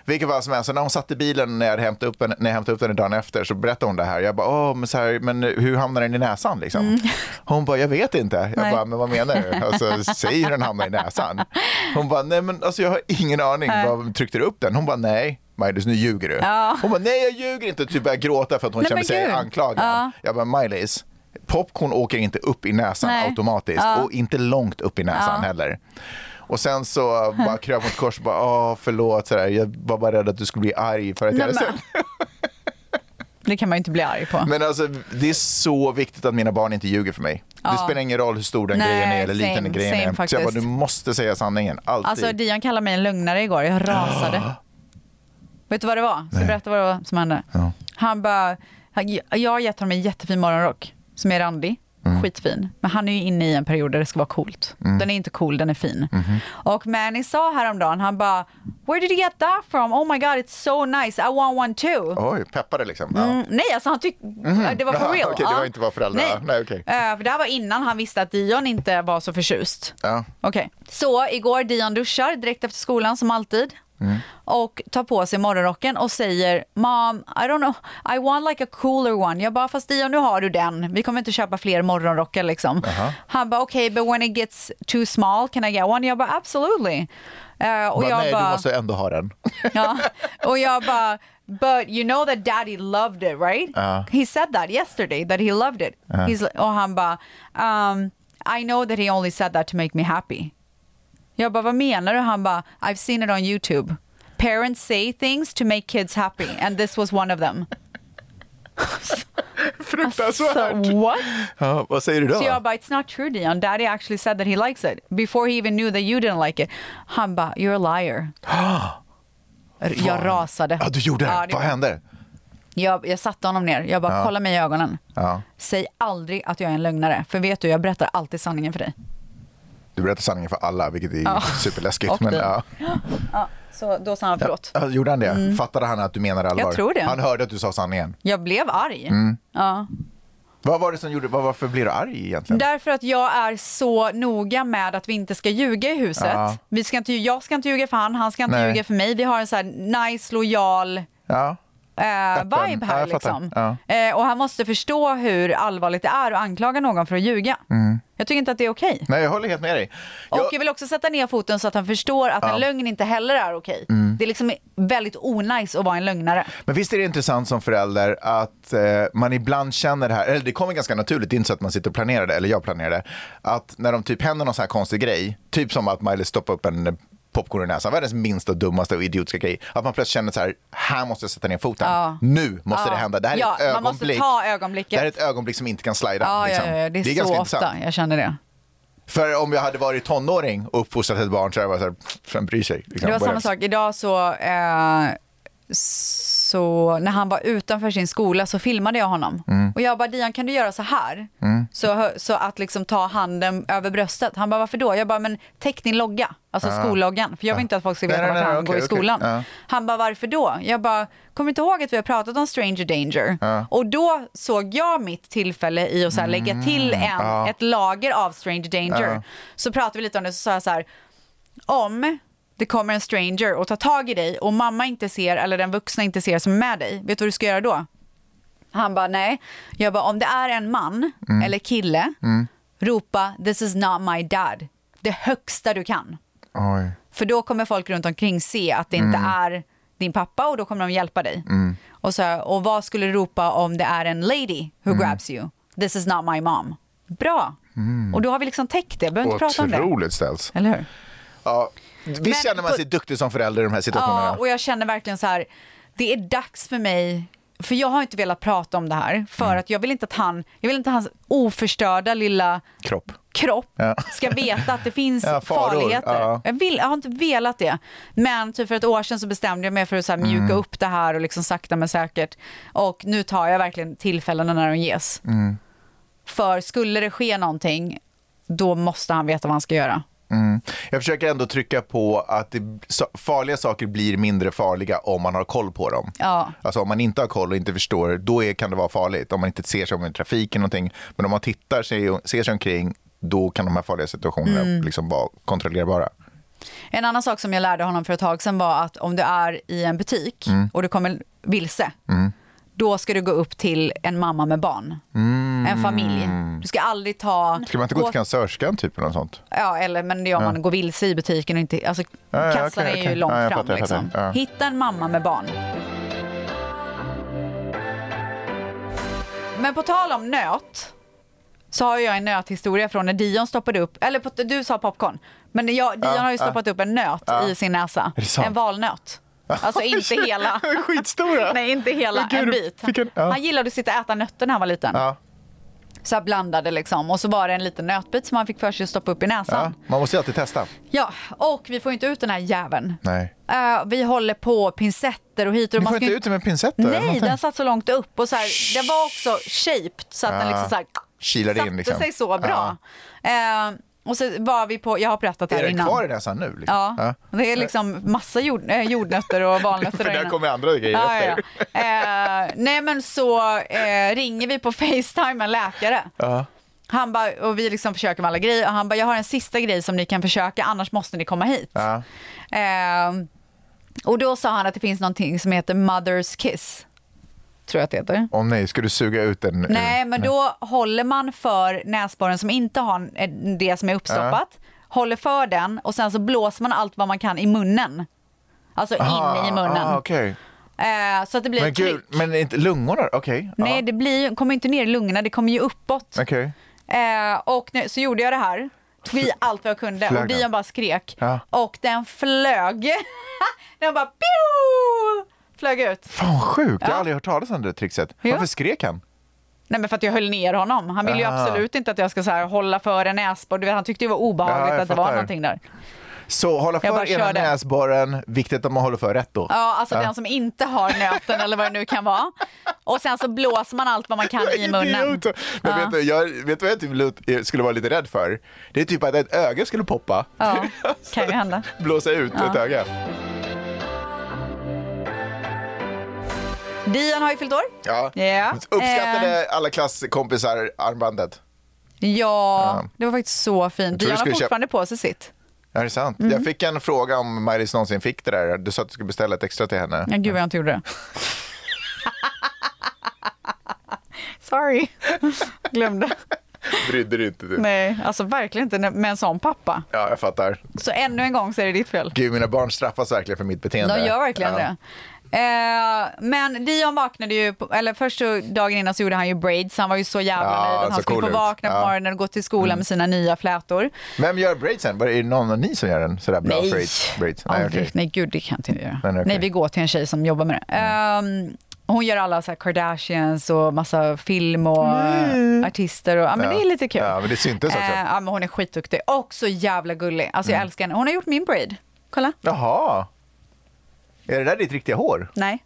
Speaker 1: Vilket var som helst, så när hon satt i bilen när jag, hade hämtat upp henne, när jag hämtade upp henne dagen efter så berättade hon det här. Jag bara, Åh, men, så här men hur hamnar den i näsan? Liksom. Hon bara, jag vet inte. Jag
Speaker 2: Mm. Nej.
Speaker 1: bara, men vad menar du? Alltså, säg hur den hamnar i näsan. Hon bara, nej men alltså, jag har ingen aning. Bara, tryckte du upp den? Hon bara, nej. Majdus, nu ljuger du. Hon bara, nej jag ljuger inte. Typ började gråta för att hon
Speaker 2: Nej,
Speaker 1: kände
Speaker 2: men
Speaker 1: sig
Speaker 2: gud.
Speaker 1: anklagad.
Speaker 2: Ja.
Speaker 1: Jag bara, Miley's, popcorn åker inte upp i näsan
Speaker 2: Nej.
Speaker 1: automatiskt
Speaker 2: Ja.
Speaker 1: och inte långt upp i näsan heller. Och sen så bara kröp mot kors och bara, åh förlåt, sådär. jag var bara rädd att du skulle bli arg för att jag hade
Speaker 2: men-
Speaker 1: sett.
Speaker 2: Det kan man ju inte bli arg på.
Speaker 1: Men alltså det är så viktigt att mina barn inte ljuger för mig. Det spelar ingen roll hur stor den
Speaker 2: Nej,
Speaker 1: grejen är eller liten
Speaker 2: same,
Speaker 1: den grejen
Speaker 2: same
Speaker 1: är. Så jag bara,
Speaker 2: faktiskt.
Speaker 1: du måste säga sanningen, alltid.
Speaker 2: Alltså Dion kallade mig en lögnare igår, jag rasade. Vet du vad det var? Så berätta vad det var som hände. Han bara, Han- Jag har gett honom en jättefin morgonrock som är randig.
Speaker 1: Mm.
Speaker 2: Skitfin. Men han är ju inne i en period där det ska vara coolt. Den är inte cool, den är fin.
Speaker 1: Mm-hmm.
Speaker 2: Och Manny sa häromdagen, han bara “Where did you get that from? Oh my god, it's so nice, I want one too”.
Speaker 1: Oj, peppade liksom. Ja.
Speaker 2: Mm, nej, alltså han tyckte... Det var for
Speaker 1: Jaha,
Speaker 2: real.
Speaker 1: okej, det var inte vad föräldrarna-
Speaker 2: Nej,
Speaker 1: nej, okej.
Speaker 2: Eh, för det här var innan han visste att Dion inte var så förtjust.
Speaker 1: Ja.
Speaker 2: Okej. Så igår Dion duschar direkt efter skolan som alltid.
Speaker 1: Mm.
Speaker 2: Och tar på sig morgonrocken och säger Mom, I don't know, I want like a cooler one. Jag bara, fast Dion nu har du den. Vi kommer inte köpa fler morgonrockar liksom. Han bara, okej, but when it gets too small can I get one? Jag bara, absolutely. Eh, och
Speaker 1: Bara,
Speaker 2: jag
Speaker 1: nej,
Speaker 2: bara,
Speaker 1: du måste ändå ha den.
Speaker 2: Ja. Och jag bara, but you know that daddy loved it right? He said that yesterday, that he loved it. He's, och han bara, um, I know that he only said that to make me happy. Jag bara, vad menar du? Han bara, I've seen it on YouTube. Parents say things to make kids happy and this was one of them.
Speaker 1: Fruktansvärt.
Speaker 2: what?
Speaker 1: Ja, vad säger du då?
Speaker 2: Så jag bara, it's not true Dion. Daddy actually said that he likes it. Before he even knew that you didn't like it. Han bara, you're a liar. jag rasade.
Speaker 1: ja, du gjorde det.
Speaker 2: Ja, det
Speaker 1: vad hände?
Speaker 2: Jag, jag satte honom ner. Jag bara, kolla mig i ögonen.
Speaker 1: Ja.
Speaker 2: Säg aldrig att jag är en lögnare. För vet du, jag berättar alltid sanningen för dig.
Speaker 1: Du berättar sanningen för alla, vilket är superläskigt.
Speaker 2: Och
Speaker 1: men,
Speaker 2: dig.
Speaker 1: ja.
Speaker 2: Ja, så då sa han förlåt. Mm.
Speaker 1: Ja, gjorde han det? Fattade han att du menade allvar?
Speaker 2: Jag tror det.
Speaker 1: Han hörde att du sa sanningen.
Speaker 2: Jag blev arg.
Speaker 1: Mm,
Speaker 2: Ja.
Speaker 1: Vad var det som gjorde, vad- varför blir du arg egentligen?
Speaker 2: Därför att jag är så noga med att vi inte ska ljuga i huset.
Speaker 1: Ja.
Speaker 2: Vi ska inte, jag ska inte ljuga för han, han ska inte
Speaker 1: Nej.
Speaker 2: ljuga för mig. Vi har en så här nice, lojal eh,
Speaker 1: Ja.
Speaker 2: vibe
Speaker 1: Ja,
Speaker 2: här
Speaker 1: jag fattar.
Speaker 2: liksom.
Speaker 1: Ja.
Speaker 2: Eh, och han måste förstå hur allvarligt det är att anklaga någon för att ljuga. Jag tycker inte att det är okej.
Speaker 1: Mm. Nej, jag håller helt med dig.
Speaker 2: Och
Speaker 1: Jag,
Speaker 2: jag vill också sätta ner foten så att han förstår att en lögn inte heller är okej.
Speaker 1: Mm.
Speaker 2: Det är liksom väldigt onajs att vara en lögnare.
Speaker 1: Men visst är det intressant som förälder att eh, man ibland känner det här, eller det kommer ganska naturligt, det är inte så att man sitter och planerar det, eller jag planerar det, att när de typ händer någon sån här konstig grej, typ som att Miley stoppar upp en eh, popcorn i näsan, världens minsta, dummaste och idiotiska grej, att man plötsligt känner så här, här måste jag sätta ner foten, nu måste det hända, det här
Speaker 2: Ja,
Speaker 1: är ett
Speaker 2: man måste
Speaker 1: ögonblick.
Speaker 2: ta ögonblicket.
Speaker 1: Det här är ett ögonblick som inte kan slida.
Speaker 2: Ja,
Speaker 1: liksom.
Speaker 2: ja, ja, det är, så ofta jag känner det.
Speaker 1: För om jag hade varit tonåring och uppfostrat ett barn så hade jag varit så här, vem bryr sig? Liksom,
Speaker 2: Det var
Speaker 1: Bara-
Speaker 2: samma sak, idag så, eh, så när han var utanför sin skola så filmade jag honom. Och jag bara, Dion kan du göra så här? Så, så att liksom ta handen över bröstet. Han bara, varför då? Jag bara, men täck din logga, alltså skolloggan. För jag vill inte att folk ska
Speaker 1: Nej,
Speaker 2: veta
Speaker 1: nej,
Speaker 2: vart
Speaker 1: nej,
Speaker 2: han
Speaker 1: okej,
Speaker 2: går i
Speaker 1: okej.
Speaker 2: skolan.
Speaker 1: Ja.
Speaker 2: Han bara, varför då? Jag bara, kommer du inte ihåg att vi har pratat om stranger danger? Och då såg jag mitt tillfälle i att så här lägga
Speaker 1: Mm,
Speaker 2: till en, ett lager av stranger danger. Så pratade vi lite om det, så sa jag så här, om det kommer en stranger och tar tag i dig och mamma inte ser eller den vuxna inte ser som är med dig, vet du vad du ska göra då? Han bara nej. Jag bara om det är en man
Speaker 1: Mm.
Speaker 2: eller kille, ropa this is not my dad. Det högsta du kan.
Speaker 1: Oj.
Speaker 2: För då kommer folk runt omkring se att det inte är din pappa och då kommer de hjälpa dig. Och, så, och vad skulle du ropa om det är en lady who grabs you? This is not my mom. Bra. Och då har vi liksom täckt det, behöver inte prata om det.
Speaker 1: Otroligt ställs.
Speaker 2: Eller hur?
Speaker 1: Ja. Visst
Speaker 2: Men
Speaker 1: känner man
Speaker 2: på-
Speaker 1: sig duktig som förälder i de här situationerna?
Speaker 2: Ja, och jag känner verkligen så här, det är dags för mig, för jag har inte velat prata om det här, för att jag vill inte att han, jag vill inte att hans oförstörda lilla
Speaker 1: Kropp.
Speaker 2: kropp
Speaker 1: Ja.
Speaker 2: ska veta att det finns
Speaker 1: Ja, faror.
Speaker 2: farligheter.
Speaker 1: Ja.
Speaker 2: Jag, vill, jag har inte velat det. Men typ för ett år sedan så bestämde jag mig för att så här mjuka
Speaker 1: Mm.
Speaker 2: upp det här och liksom sakta men säkert. Och nu tar jag verkligen tillfällena när de ges.
Speaker 1: Mm.
Speaker 2: För skulle det ske någonting, då måste han veta vad han ska göra.
Speaker 1: Mm. Jag försöker ändå trycka på att det, så, farliga saker blir mindre farliga om man har koll på dem.
Speaker 2: Ja.
Speaker 1: Alltså om man inte har koll och inte förstår, då är, kan det vara farligt. Om man inte ser sig om i trafiken eller någonting. Men om man tittar sig, ser sig omkring, då kan de här farliga situationerna
Speaker 2: Mm.
Speaker 1: liksom vara kontrollerbara.
Speaker 2: En annan sak som jag lärde honom för ett tag sedan var att om du är i en butik
Speaker 1: Mm.
Speaker 2: och du kommer vilse, då ska du gå upp till en mamma med barn. En familj. Du ska aldrig ta...
Speaker 1: Mm. Ska man inte gå till kassörskan typ eller något sånt?
Speaker 2: Ja, eller, men det gör man, går vilse i butiken och inte... Alltså,
Speaker 1: Ja, ja,
Speaker 2: kassan
Speaker 1: okej,
Speaker 2: är ju
Speaker 1: okej.
Speaker 2: långt
Speaker 1: Ja, jag
Speaker 2: fram
Speaker 1: fattar, jag
Speaker 2: liksom.
Speaker 1: fattar. Ja.
Speaker 2: Hitta en mamma med barn. Men på tal om nöt så har jag en nöthistoria från när Dion stoppade upp, eller på, du sa popcorn, men jag, Dion har ju stoppat upp en nöt i sin näsa.
Speaker 1: Är det sant?
Speaker 2: En valnöt. Alltså inte hela.
Speaker 1: Skitstora!
Speaker 2: Nej, inte hela.
Speaker 1: Men gud,
Speaker 2: en
Speaker 1: du
Speaker 2: bit.
Speaker 1: fick en- ja.
Speaker 2: Han gillade att sitta och äta nötter när han var liten.
Speaker 1: Ja.
Speaker 2: så här blandade liksom. Och så var det en liten nötbit som man fick för sig att stoppa upp i
Speaker 1: Ja,
Speaker 2: näsan.
Speaker 1: man måste ju alltid testa.
Speaker 2: Ja, och vi får ju inte ut den här jäveln.
Speaker 1: Nej.
Speaker 2: Eh, vi håller på pincetter och hit och
Speaker 1: Ni får
Speaker 2: ska
Speaker 1: inte
Speaker 2: ju-
Speaker 1: ut det med pincetter? eller
Speaker 2: Nej,
Speaker 1: någonting?
Speaker 2: den satt så långt upp och så här, den var också shaped så att den
Speaker 1: Ah.
Speaker 2: liksom så här,
Speaker 1: Kilade in,
Speaker 2: satte
Speaker 1: liksom.
Speaker 2: sig så bra. Eh, och så var vi på, jag har berättat det
Speaker 1: Är
Speaker 2: här
Speaker 1: den
Speaker 2: innan.
Speaker 1: kvar i näsan nu? Liksom?
Speaker 2: Ja, det är liksom massa jord, eh, jordnötter och valnötter.
Speaker 1: För
Speaker 2: där
Speaker 1: där
Speaker 2: inne.
Speaker 1: kommer andra grejer
Speaker 2: ja, ja,
Speaker 1: efter.
Speaker 2: ja. Eh, nej men så eh, ringer vi på Facetime en läkare.
Speaker 1: Ja.
Speaker 2: Han bara, och vi liksom försöker med alla grejer och han bara, jag har en sista grej som ni kan försöka annars måste ni komma hit.
Speaker 1: Ja.
Speaker 2: Eh, och då sa han att det finns någonting som heter Mother's Kiss. Tror jag att det heter.
Speaker 1: Åh nej, ska du suga ut den? eh? ur-
Speaker 2: Nej, men då håller man för näsborren som inte har eh, det som är uppstoppat, håller för den och sen så blåser man allt vad man kan i munnen. Alltså in
Speaker 1: Ah,
Speaker 2: i munnen.
Speaker 1: Ah, okej.
Speaker 2: eh, så att det blir
Speaker 1: Men
Speaker 2: ett tryck.
Speaker 1: gud, men inte lungorna? Okej.
Speaker 2: Nej, det blir, ju- kommer inte ner i lungorna, det kommer ju uppåt.
Speaker 1: ja. Okej.
Speaker 2: Eh, och nu, så gjorde jag det här, tog i allt vad jag kunde
Speaker 1: Flög
Speaker 2: och
Speaker 1: den?
Speaker 2: Dion bara skrek.
Speaker 1: Ja.
Speaker 2: Och den flög. den bara pio! Flög ut.
Speaker 1: Fan vad sjukt, jag har aldrig hört talas om det trixet.
Speaker 2: Ja.
Speaker 1: Varför skrek han?
Speaker 2: Nej men för att jag höll ner honom. Han ville ju
Speaker 1: Aha.
Speaker 2: absolut inte att jag ska så här, hålla för en näsborr. Du vet, Han tyckte det var obehagligt
Speaker 1: Ja, jag
Speaker 2: att det var
Speaker 1: fattar.
Speaker 2: någonting där.
Speaker 1: Så hålla
Speaker 2: bara
Speaker 1: för ena
Speaker 2: körde.
Speaker 1: näsborren, viktigt att man håller för rätt då.
Speaker 2: Ja, alltså den som inte har nöten eller vad det nu kan vara. Och sen så blåser man allt vad man kan i munnen.
Speaker 1: Idiot. Men
Speaker 2: Ja.
Speaker 1: vet, du, jag, vet du vad jag typ lut- skulle vara lite rädd för? Det är typ att ett öga skulle poppa.
Speaker 2: Ja, kan ju hända.
Speaker 1: Blåsa ut ett öga.
Speaker 2: Dion har ju fyllt år.
Speaker 1: Ja.
Speaker 2: Ja. Eh.
Speaker 1: Uppskattade alla klasskompisar armbandet?
Speaker 2: Ja, det var faktiskt så fint.
Speaker 1: tror
Speaker 2: Dion
Speaker 1: du
Speaker 2: har
Speaker 1: skulle köpa-
Speaker 2: fortfarande på sig sitt.
Speaker 1: Är det sant?
Speaker 2: Mm.
Speaker 1: Jag fick en fråga om Maj-Lis någonsin fick det där. Du sa att du skulle beställa ett extra till henne.
Speaker 2: Ja, gud vad jag inte gjorde det. Sorry. Glömde.
Speaker 1: Brydde dig inte du?
Speaker 2: Nej, alltså verkligen inte med en sån pappa.
Speaker 1: Ja, jag fattar.
Speaker 2: Så ännu en gång så är det ditt fel.
Speaker 1: Gud, mina barn straffas verkligen för mitt beteende.
Speaker 2: De gör verkligen
Speaker 1: ja.
Speaker 2: det. Eh, men Dion vaknade ju, på, eller första dagen innan så gjorde han ju braids, han var ju så jävla
Speaker 1: Ja,
Speaker 2: nöjd att
Speaker 1: han
Speaker 2: han
Speaker 1: såg
Speaker 2: skulle
Speaker 1: cool
Speaker 2: få
Speaker 1: ut.
Speaker 2: vakna på
Speaker 1: Ja. Mm.
Speaker 2: morgonen och gå till skolan med sina nya flätor.
Speaker 1: Vem gör braidsen? Var det- Är det någon av ni som gör den sådär bra
Speaker 2: Nej,
Speaker 1: braids? braids?
Speaker 2: Nej,
Speaker 1: okej.
Speaker 2: Nej, gud det kan jag inte göra.
Speaker 1: Nej,
Speaker 2: Nej,
Speaker 1: okej. Mm.
Speaker 2: vi går till en tjej som jobbar med det. Ehm, hon gör alla så här Kardashians och massa film och eh, artister. Och, ja, men
Speaker 1: Mm. Ja.
Speaker 2: Det är lite kul.
Speaker 1: Ja, men det syntes också. Mm.
Speaker 2: Eh, ja, men hon är skitduktig och så jävla gullig. Alltså, Jag älskar henne. Hon har gjort min braid. Kolla.
Speaker 1: Jaha. Är det där ditt riktiga hår?
Speaker 2: Nej.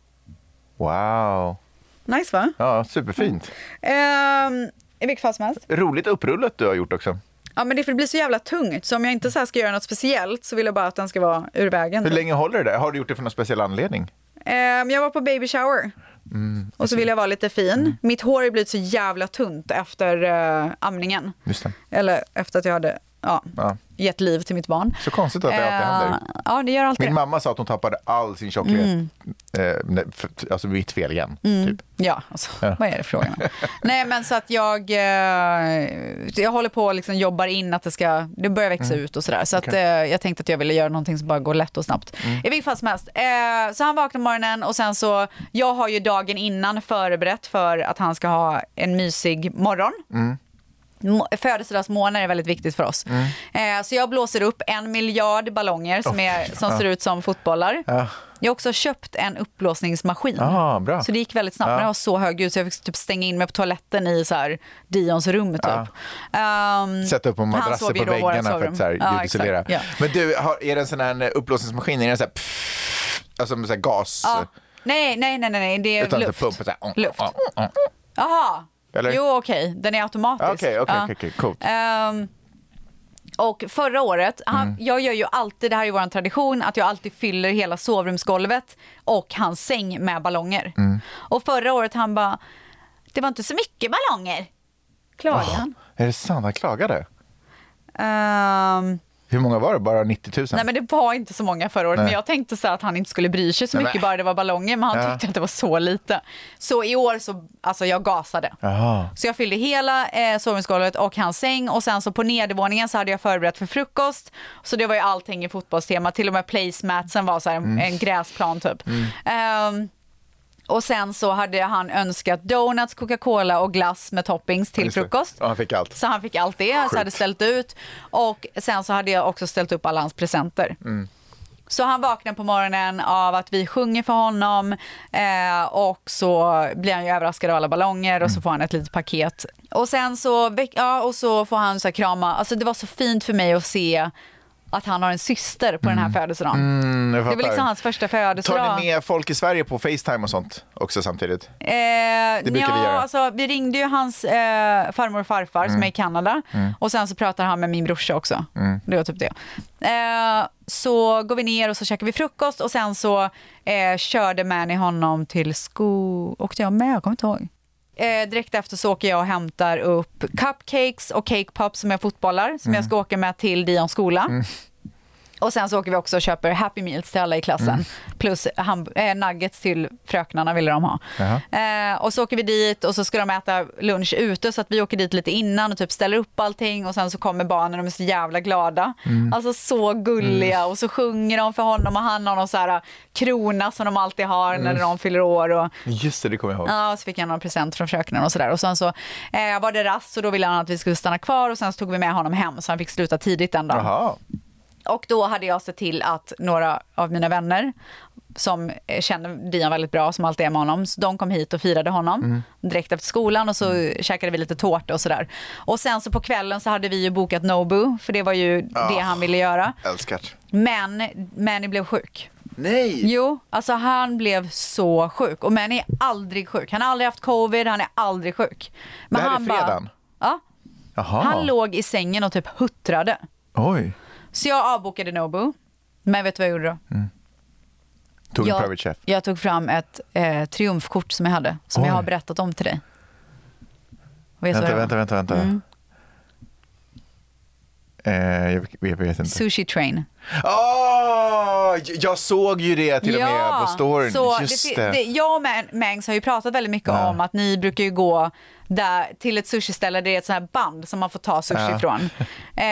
Speaker 1: Wow.
Speaker 2: Nice va?
Speaker 1: Ja, superfint.
Speaker 2: Ehm, I vilket fall som helst.
Speaker 1: Roligt upprullat du har gjort också.
Speaker 2: Ja, men det för det blir så jävla tungt. Så om jag inte så här ska göra något speciellt så vill jag bara att den ska vara ur vägen. typ.
Speaker 1: Hur länge håller det där? Har du gjort det för någon speciell anledning?
Speaker 2: Ehm, jag var på baby shower.
Speaker 1: Mm,
Speaker 2: och så vill jag vara lite fin. Mitt hår har ju blivit så jävla tunt efter eh, amningen.
Speaker 1: Just det.
Speaker 2: Eller efter att jag hade ja,
Speaker 1: Ja.
Speaker 2: gett liv till mitt barn.
Speaker 1: Så konstigt att det alltid händer.
Speaker 2: Eh, Mm. Ja, det gör alltid
Speaker 1: Min
Speaker 2: det.
Speaker 1: mamma sa att hon tappade all sin tjocklek. Eh, nej, för, alltså mitt fel igen. Typ.
Speaker 2: Ja, alltså, vad är det frågan om? Nej, men så att jag, eh, jag håller på och liksom jobbar in att det ska, det börjar växa ut och sådär. Så att, eh, jag tänkte att jag ville göra någonting som bara går lätt och snabbt. I vilket fall som helst. Eh, så han vaknar på morgonen och sen så, jag har ju dagen innan förberett för att han ska ha en mysig morgon. Må- Födelsedagsmånar är väldigt viktigt för oss.
Speaker 1: Mm.
Speaker 2: Eh, så jag blåser upp en miljard ballonger som, är, som ser ut som fotbollar. Jag har också köpt en uppblåsningsmaskin.
Speaker 1: Ah, bra.
Speaker 2: Så det gick väldigt snabbt. Men det var så hög ljud så jag fick typ stänga in mig på toaletten i så här Dions rum. Typ. Ehm,
Speaker 1: Sätta upp en
Speaker 2: han
Speaker 1: madrasser
Speaker 2: sov ju
Speaker 1: på
Speaker 2: då i vårat
Speaker 1: väggarna för
Speaker 2: sovrum.
Speaker 1: att så här,
Speaker 2: Ja,
Speaker 1: ljudisolera.
Speaker 2: exakt. Ja.
Speaker 1: Men du, har, är det en sån här uppblåsningsmaskin? Är det en sån här pff, alltså med så här gas?
Speaker 2: Ja. Ah, Nej, nej, nej, nej, nej, det är
Speaker 1: Utan
Speaker 2: luft.
Speaker 1: luft. pump, så här, mm,
Speaker 2: Luft.
Speaker 1: mm, mm.
Speaker 2: Jaha.
Speaker 1: Eller?
Speaker 2: Jo, okej. Den är automatisk.
Speaker 1: Okej, okej,
Speaker 2: Ja.
Speaker 1: okej, okej, coolt.
Speaker 2: Ehm, och förra året, han,
Speaker 1: Mm.
Speaker 2: jag gör ju alltid, det här är vår tradition, att jag alltid fyller hela sovrumsgolvet och hans säng med ballonger.
Speaker 1: Mm.
Speaker 2: Och förra året han bara, det var inte så mycket ballonger. Klagar han.
Speaker 1: Är det sant? Han klagade?
Speaker 2: Ehm,
Speaker 1: Hur många var det? Bara 90 000?
Speaker 2: nej men det var inte så många förra året, men jag tänkte så här att han inte skulle bry sig så
Speaker 1: Nej, men-
Speaker 2: mycket bara det var ballonger, men han
Speaker 1: Ja.
Speaker 2: tyckte att det var så lite. Så i år så, alltså jag gasade.
Speaker 1: Jaha.
Speaker 2: Så jag fyllde hela eh, sovrumsgolvet och hans säng och sen så på nedervåningen så hade jag förberett för frukost. Så det var ju allting i fotbollstema, till och med placematsen var så här en,
Speaker 1: Mm.
Speaker 2: en gräsplan typ. Ehm, och sen så hade han önskat donuts, coca-cola och glass med toppings till
Speaker 1: Just det.
Speaker 2: frukost.
Speaker 1: Ja, han fick allt.
Speaker 2: Så han fick allt det, så hade ställt ut. Och sen så hade jag också ställt upp alla hans presenter. Så han vaknar på morgonen av att vi sjunger för honom eh, och så blir han ju överraskad av alla ballonger och så får han ett litet paket. Och sen så, väck- ja, och så får han så här krama, alltså det var så fint för mig att se att han har en syster på den här födelsedagen.
Speaker 1: Mm, jag
Speaker 2: det var
Speaker 1: fattar.
Speaker 2: liksom hans första födelsedag.
Speaker 1: Tar ni med folk i Sverige på Facetime och sånt också samtidigt?
Speaker 2: Eh,
Speaker 1: Det brukar
Speaker 2: ja,
Speaker 1: vi göra. Mm.
Speaker 2: Alltså, vi ringde ju hans eh, farmor och farfar som är i Kanada och sen så pratar han med min brorsa också. Det var typ det. Eh, så går vi ner och så käkar vi frukost och sen så eh, körde Manny honom till sko... Åkte jag med? Jag kommer inte ihåg. Eh, direkt efter så åker jag och hämtar upp cupcakes och cake pops som jag fotbollar som jag
Speaker 1: Mm.
Speaker 2: ska åka med till Dions skola. Och sen så åker vi också och köper Happy Meals till alla i klassen. Plus ham- eh, nuggets till fröknarna ville de ha. Eh, och så åker vi dit och så ska de äta lunch ute så att vi åker dit lite innan och typ ställer upp allting och sen så kommer barnen och de är så jävla glada. Alltså så gulliga och så sjunger de för honom och han har någon så här eh, krona som de alltid har när de fyller år. Och,
Speaker 1: Just det, det kommer jag ihåg.
Speaker 2: Ja, och så fick han någon present från fröknarna och sådär. Och sen så eh, var det rast och då ville han att vi skulle stanna kvar och sen så tog vi med honom hem så han fick sluta tidigt den dagen.
Speaker 1: Jaha.
Speaker 2: Och då hade jag sett till att några av mina vänner som eh, känner Dion väldigt bra, som alltid är med honom, så de kom hit och firade honom
Speaker 1: Mm.
Speaker 2: direkt efter skolan och så käkade vi lite tårta och sådär. Och sen så på kvällen så hade vi ju bokat Nobu, för det var ju
Speaker 1: Ah.
Speaker 2: det han ville göra.
Speaker 1: Älskat.
Speaker 2: Men Manny blev sjuk.
Speaker 1: Nej!
Speaker 2: Jo, alltså han blev så sjuk. Och Manny är aldrig sjuk. Han har aldrig haft covid, han är aldrig sjuk. Men
Speaker 1: Det här är
Speaker 2: han bara-
Speaker 1: fredagen? Ah.
Speaker 2: Ja,
Speaker 1: Jaha.
Speaker 2: han låg i sängen och typ huttrade.
Speaker 1: Oj.
Speaker 2: Så jag avbokade Nobu. Men vet du vad jag gjorde då?
Speaker 1: Tog en
Speaker 2: jag,
Speaker 1: private chef.
Speaker 2: jag tog fram ett eh, triumfkort som jag hade, som
Speaker 1: Oj.
Speaker 2: jag har berättat om till dig. Vet du vad det
Speaker 1: Vänta,
Speaker 2: var?
Speaker 1: vänta, vänta. vänta.
Speaker 2: Mm.
Speaker 1: Eh, jag, jag vet inte.
Speaker 2: Sushi train.
Speaker 1: Åh, j- jag såg ju det till och med på storyn.
Speaker 2: så
Speaker 1: Just
Speaker 2: det,
Speaker 1: det.
Speaker 2: det, jag och Ma- Mangs har ju pratat väldigt mycket om att ni brukar ju gå där, till ett sushiställe där det är ett sånt här band som man får ta sushi ifrån. Eh,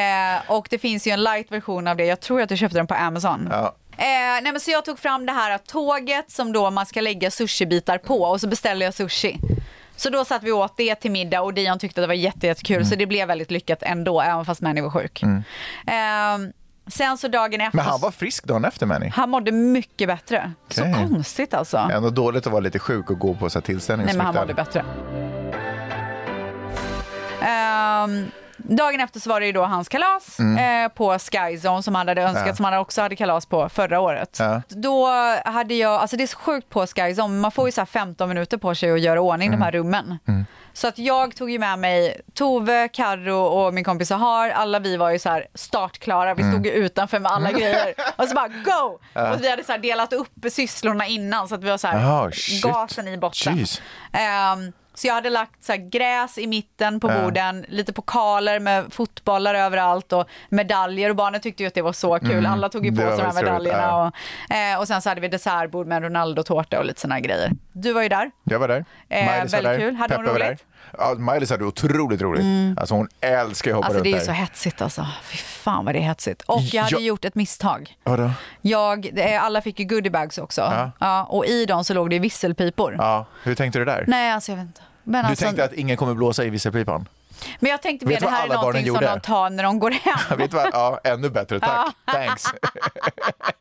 Speaker 2: och det finns ju en light version av det. Jag tror att du köpte den på Amazon.
Speaker 1: Ja.
Speaker 2: Eh, nej men så jag tog fram det här tåget som då man ska lägga sushibitar på och så beställde jag sushi. Så då satt vi och åt det till middag och Dion tyckte att det var jätte- jättekul
Speaker 1: Mm.
Speaker 2: så det blev väldigt lyckat ändå även fast Manny var sjuk. Eh, sen så dagen efter.
Speaker 1: Men han var frisk dagen efter Manny.
Speaker 2: Han mådde mycket bättre.
Speaker 1: Okej.
Speaker 2: Så konstigt alltså.
Speaker 1: Ändå dåligt att vara lite sjuk och gå på så här tillställningar.
Speaker 2: Nej, men han
Speaker 1: smittad.
Speaker 2: mådde bättre. Ehm, dagen efter så var det ju då hans kalas
Speaker 1: Mm.
Speaker 2: eh, på Skyzone som han hade önskat, som han också hade kalas på förra året.
Speaker 1: Ja.
Speaker 2: Då hade jag, alltså det är så sjukt på Skyzone, man får ju så här 15 minuter på sig att göra ordning de här
Speaker 1: Mm.
Speaker 2: rummen. Så att jag tog ju med mig Tove, Karro och min kompis Sahar, alla vi var ju så här startklara, vi
Speaker 1: Mm.
Speaker 2: stod ju utanför med alla grejer. Och så bara go! Och vi hade så här delat upp sysslorna innan så att vi var så här,
Speaker 1: Ah, shit.
Speaker 2: gasen i botten.
Speaker 1: Jeez.
Speaker 2: Ehm, så jag hade lagt så här gräs i mitten på borden, lite pokaler med fotbollar överallt och medaljer och barnen tyckte ju att det var så kul. Alla tog ju på
Speaker 1: Mm, Det var
Speaker 2: sig de
Speaker 1: väldigt
Speaker 2: här
Speaker 1: roligt,
Speaker 2: medaljerna.
Speaker 1: ja.
Speaker 2: Och, eh, och sen så hade vi dessertbord med Ronaldo-tårta och lite sådana grejer. Du var ju där.
Speaker 1: Jag var där.
Speaker 2: Eh,
Speaker 1: Maj-Lis var
Speaker 2: väldigt
Speaker 1: där.
Speaker 2: kul. Hade hon
Speaker 1: Peppe var
Speaker 2: roligt? Mm.
Speaker 1: där. Ja, Maj-Lis hade otroligt roligt. Alltså hon älskar ju att hoppa
Speaker 2: Alltså det är ju
Speaker 1: runt
Speaker 2: så
Speaker 1: där.
Speaker 2: hetsigt alltså. Fy fan vad det är hetsigt. Och jag hade
Speaker 1: Ja.
Speaker 2: gjort ett misstag.
Speaker 1: Vadå?
Speaker 2: Jag, eh, alla fick ju goodiebags också. Ja. och i dem så låg det ju visselpipor.
Speaker 1: Ja, hur tänkte du där?
Speaker 2: Nej, alltså jag vet inte. Men
Speaker 1: Du
Speaker 2: alltså,
Speaker 1: tänkte att ingen kommer blåsa i visselpipan?
Speaker 2: men jag tänkte mer
Speaker 1: Vet du
Speaker 2: det
Speaker 1: vad
Speaker 2: här är
Speaker 1: alla barnen
Speaker 2: någonting som
Speaker 1: gjorde?
Speaker 2: de tar när de går hem.
Speaker 1: Vet du vad? Ja, ännu bättre. Tack. Thanks.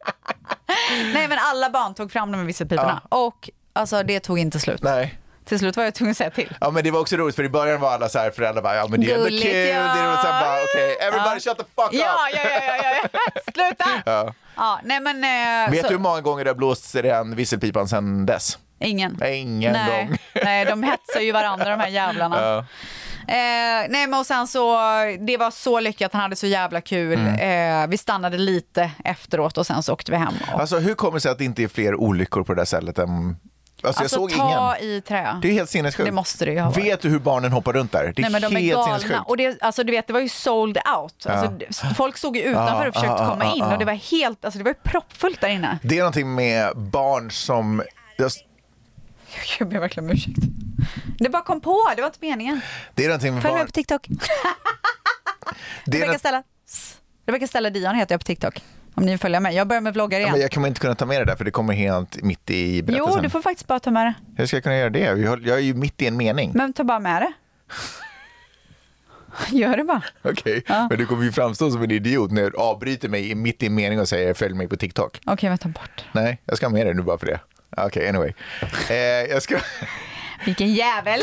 Speaker 2: Nej men alla barn tog fram de här visselpiporna och alltså det tog inte slut.
Speaker 1: Nej.
Speaker 2: Till slut var jag tvungen att säga till.
Speaker 1: Ja, men det var också roligt för i början var alla så här föräldrar bara, ja men det är ändå kul.
Speaker 2: Gulligt,
Speaker 1: Det
Speaker 2: ja.
Speaker 1: är roligt. Så här bara, okej, everybody
Speaker 2: Ja.
Speaker 1: shut the fuck up.
Speaker 2: Ja, ja, ja, ja, ja, ja. sluta! Ja. nej men... Eh,
Speaker 1: Vet
Speaker 2: så-
Speaker 1: du hur många gånger det har blåsts i den visselpipan sedan dess?
Speaker 2: Ingen.
Speaker 1: Ingen
Speaker 2: nej,
Speaker 1: gång.
Speaker 2: nej, de hetsar ju varandra de här jävlarna. Eh, nej men och sen så, det var så lyckat, han hade så jävla kul. Eh, vi stannade lite efteråt och sen så åkte vi hem. Och,
Speaker 1: Mm. Alltså hur kommer det sig att det inte är fler olyckor på det där stället än... Alltså, jag såg
Speaker 2: ta
Speaker 1: ingen.
Speaker 2: i trä.
Speaker 1: Det är helt sinnessjukt.
Speaker 2: Det måste det ju ha varit.
Speaker 1: Vet du hur barnen hoppar runt där? Det är
Speaker 2: Nej men de är
Speaker 1: helt
Speaker 2: galna.
Speaker 1: sinnessjukt.
Speaker 2: Och det, alltså, du vet, det var ju sold out. Alltså, d- Folk stod ju utanför
Speaker 1: Ja,
Speaker 2: och försökte
Speaker 1: ja,
Speaker 2: komma
Speaker 1: ja,
Speaker 2: in
Speaker 1: ja.
Speaker 2: och det var helt, alltså det var ju proppfullt där inne.
Speaker 1: Det är någonting med barn som... just-
Speaker 2: Jag ber verkligen om ursäkt. Det bara kom på, det var inte meningen.
Speaker 1: Det är någonting med
Speaker 2: Följ mig
Speaker 1: barn...
Speaker 2: på TikTok.
Speaker 1: Det är
Speaker 2: Rebecka
Speaker 1: något...
Speaker 2: Stella. S. Rebecka Stella Dion heter jag på TikTok. Om ni vill följa mig. Jag börjar med vloggar
Speaker 1: Ja, men
Speaker 2: igen.
Speaker 1: jag kommer inte kunna ta med det där för det kommer helt mitt i berättelsen.
Speaker 2: Jo, du får faktiskt bara ta med det.
Speaker 1: Hur ska jag kunna göra det? Jag jag är ju mitt i en mening.
Speaker 2: Men ta bara med det. Gör det bara.
Speaker 1: Okej, men du kommer ju framstå som en idiot när du avbryter mig i- mitt i en mening och säger följ mig på TikTok.
Speaker 2: Okej, jag tar bort.
Speaker 1: Nej, jag ska ha med dig nu bara för det. Okej, anyway. Eh, jag, ska,
Speaker 2: Vilken jävel.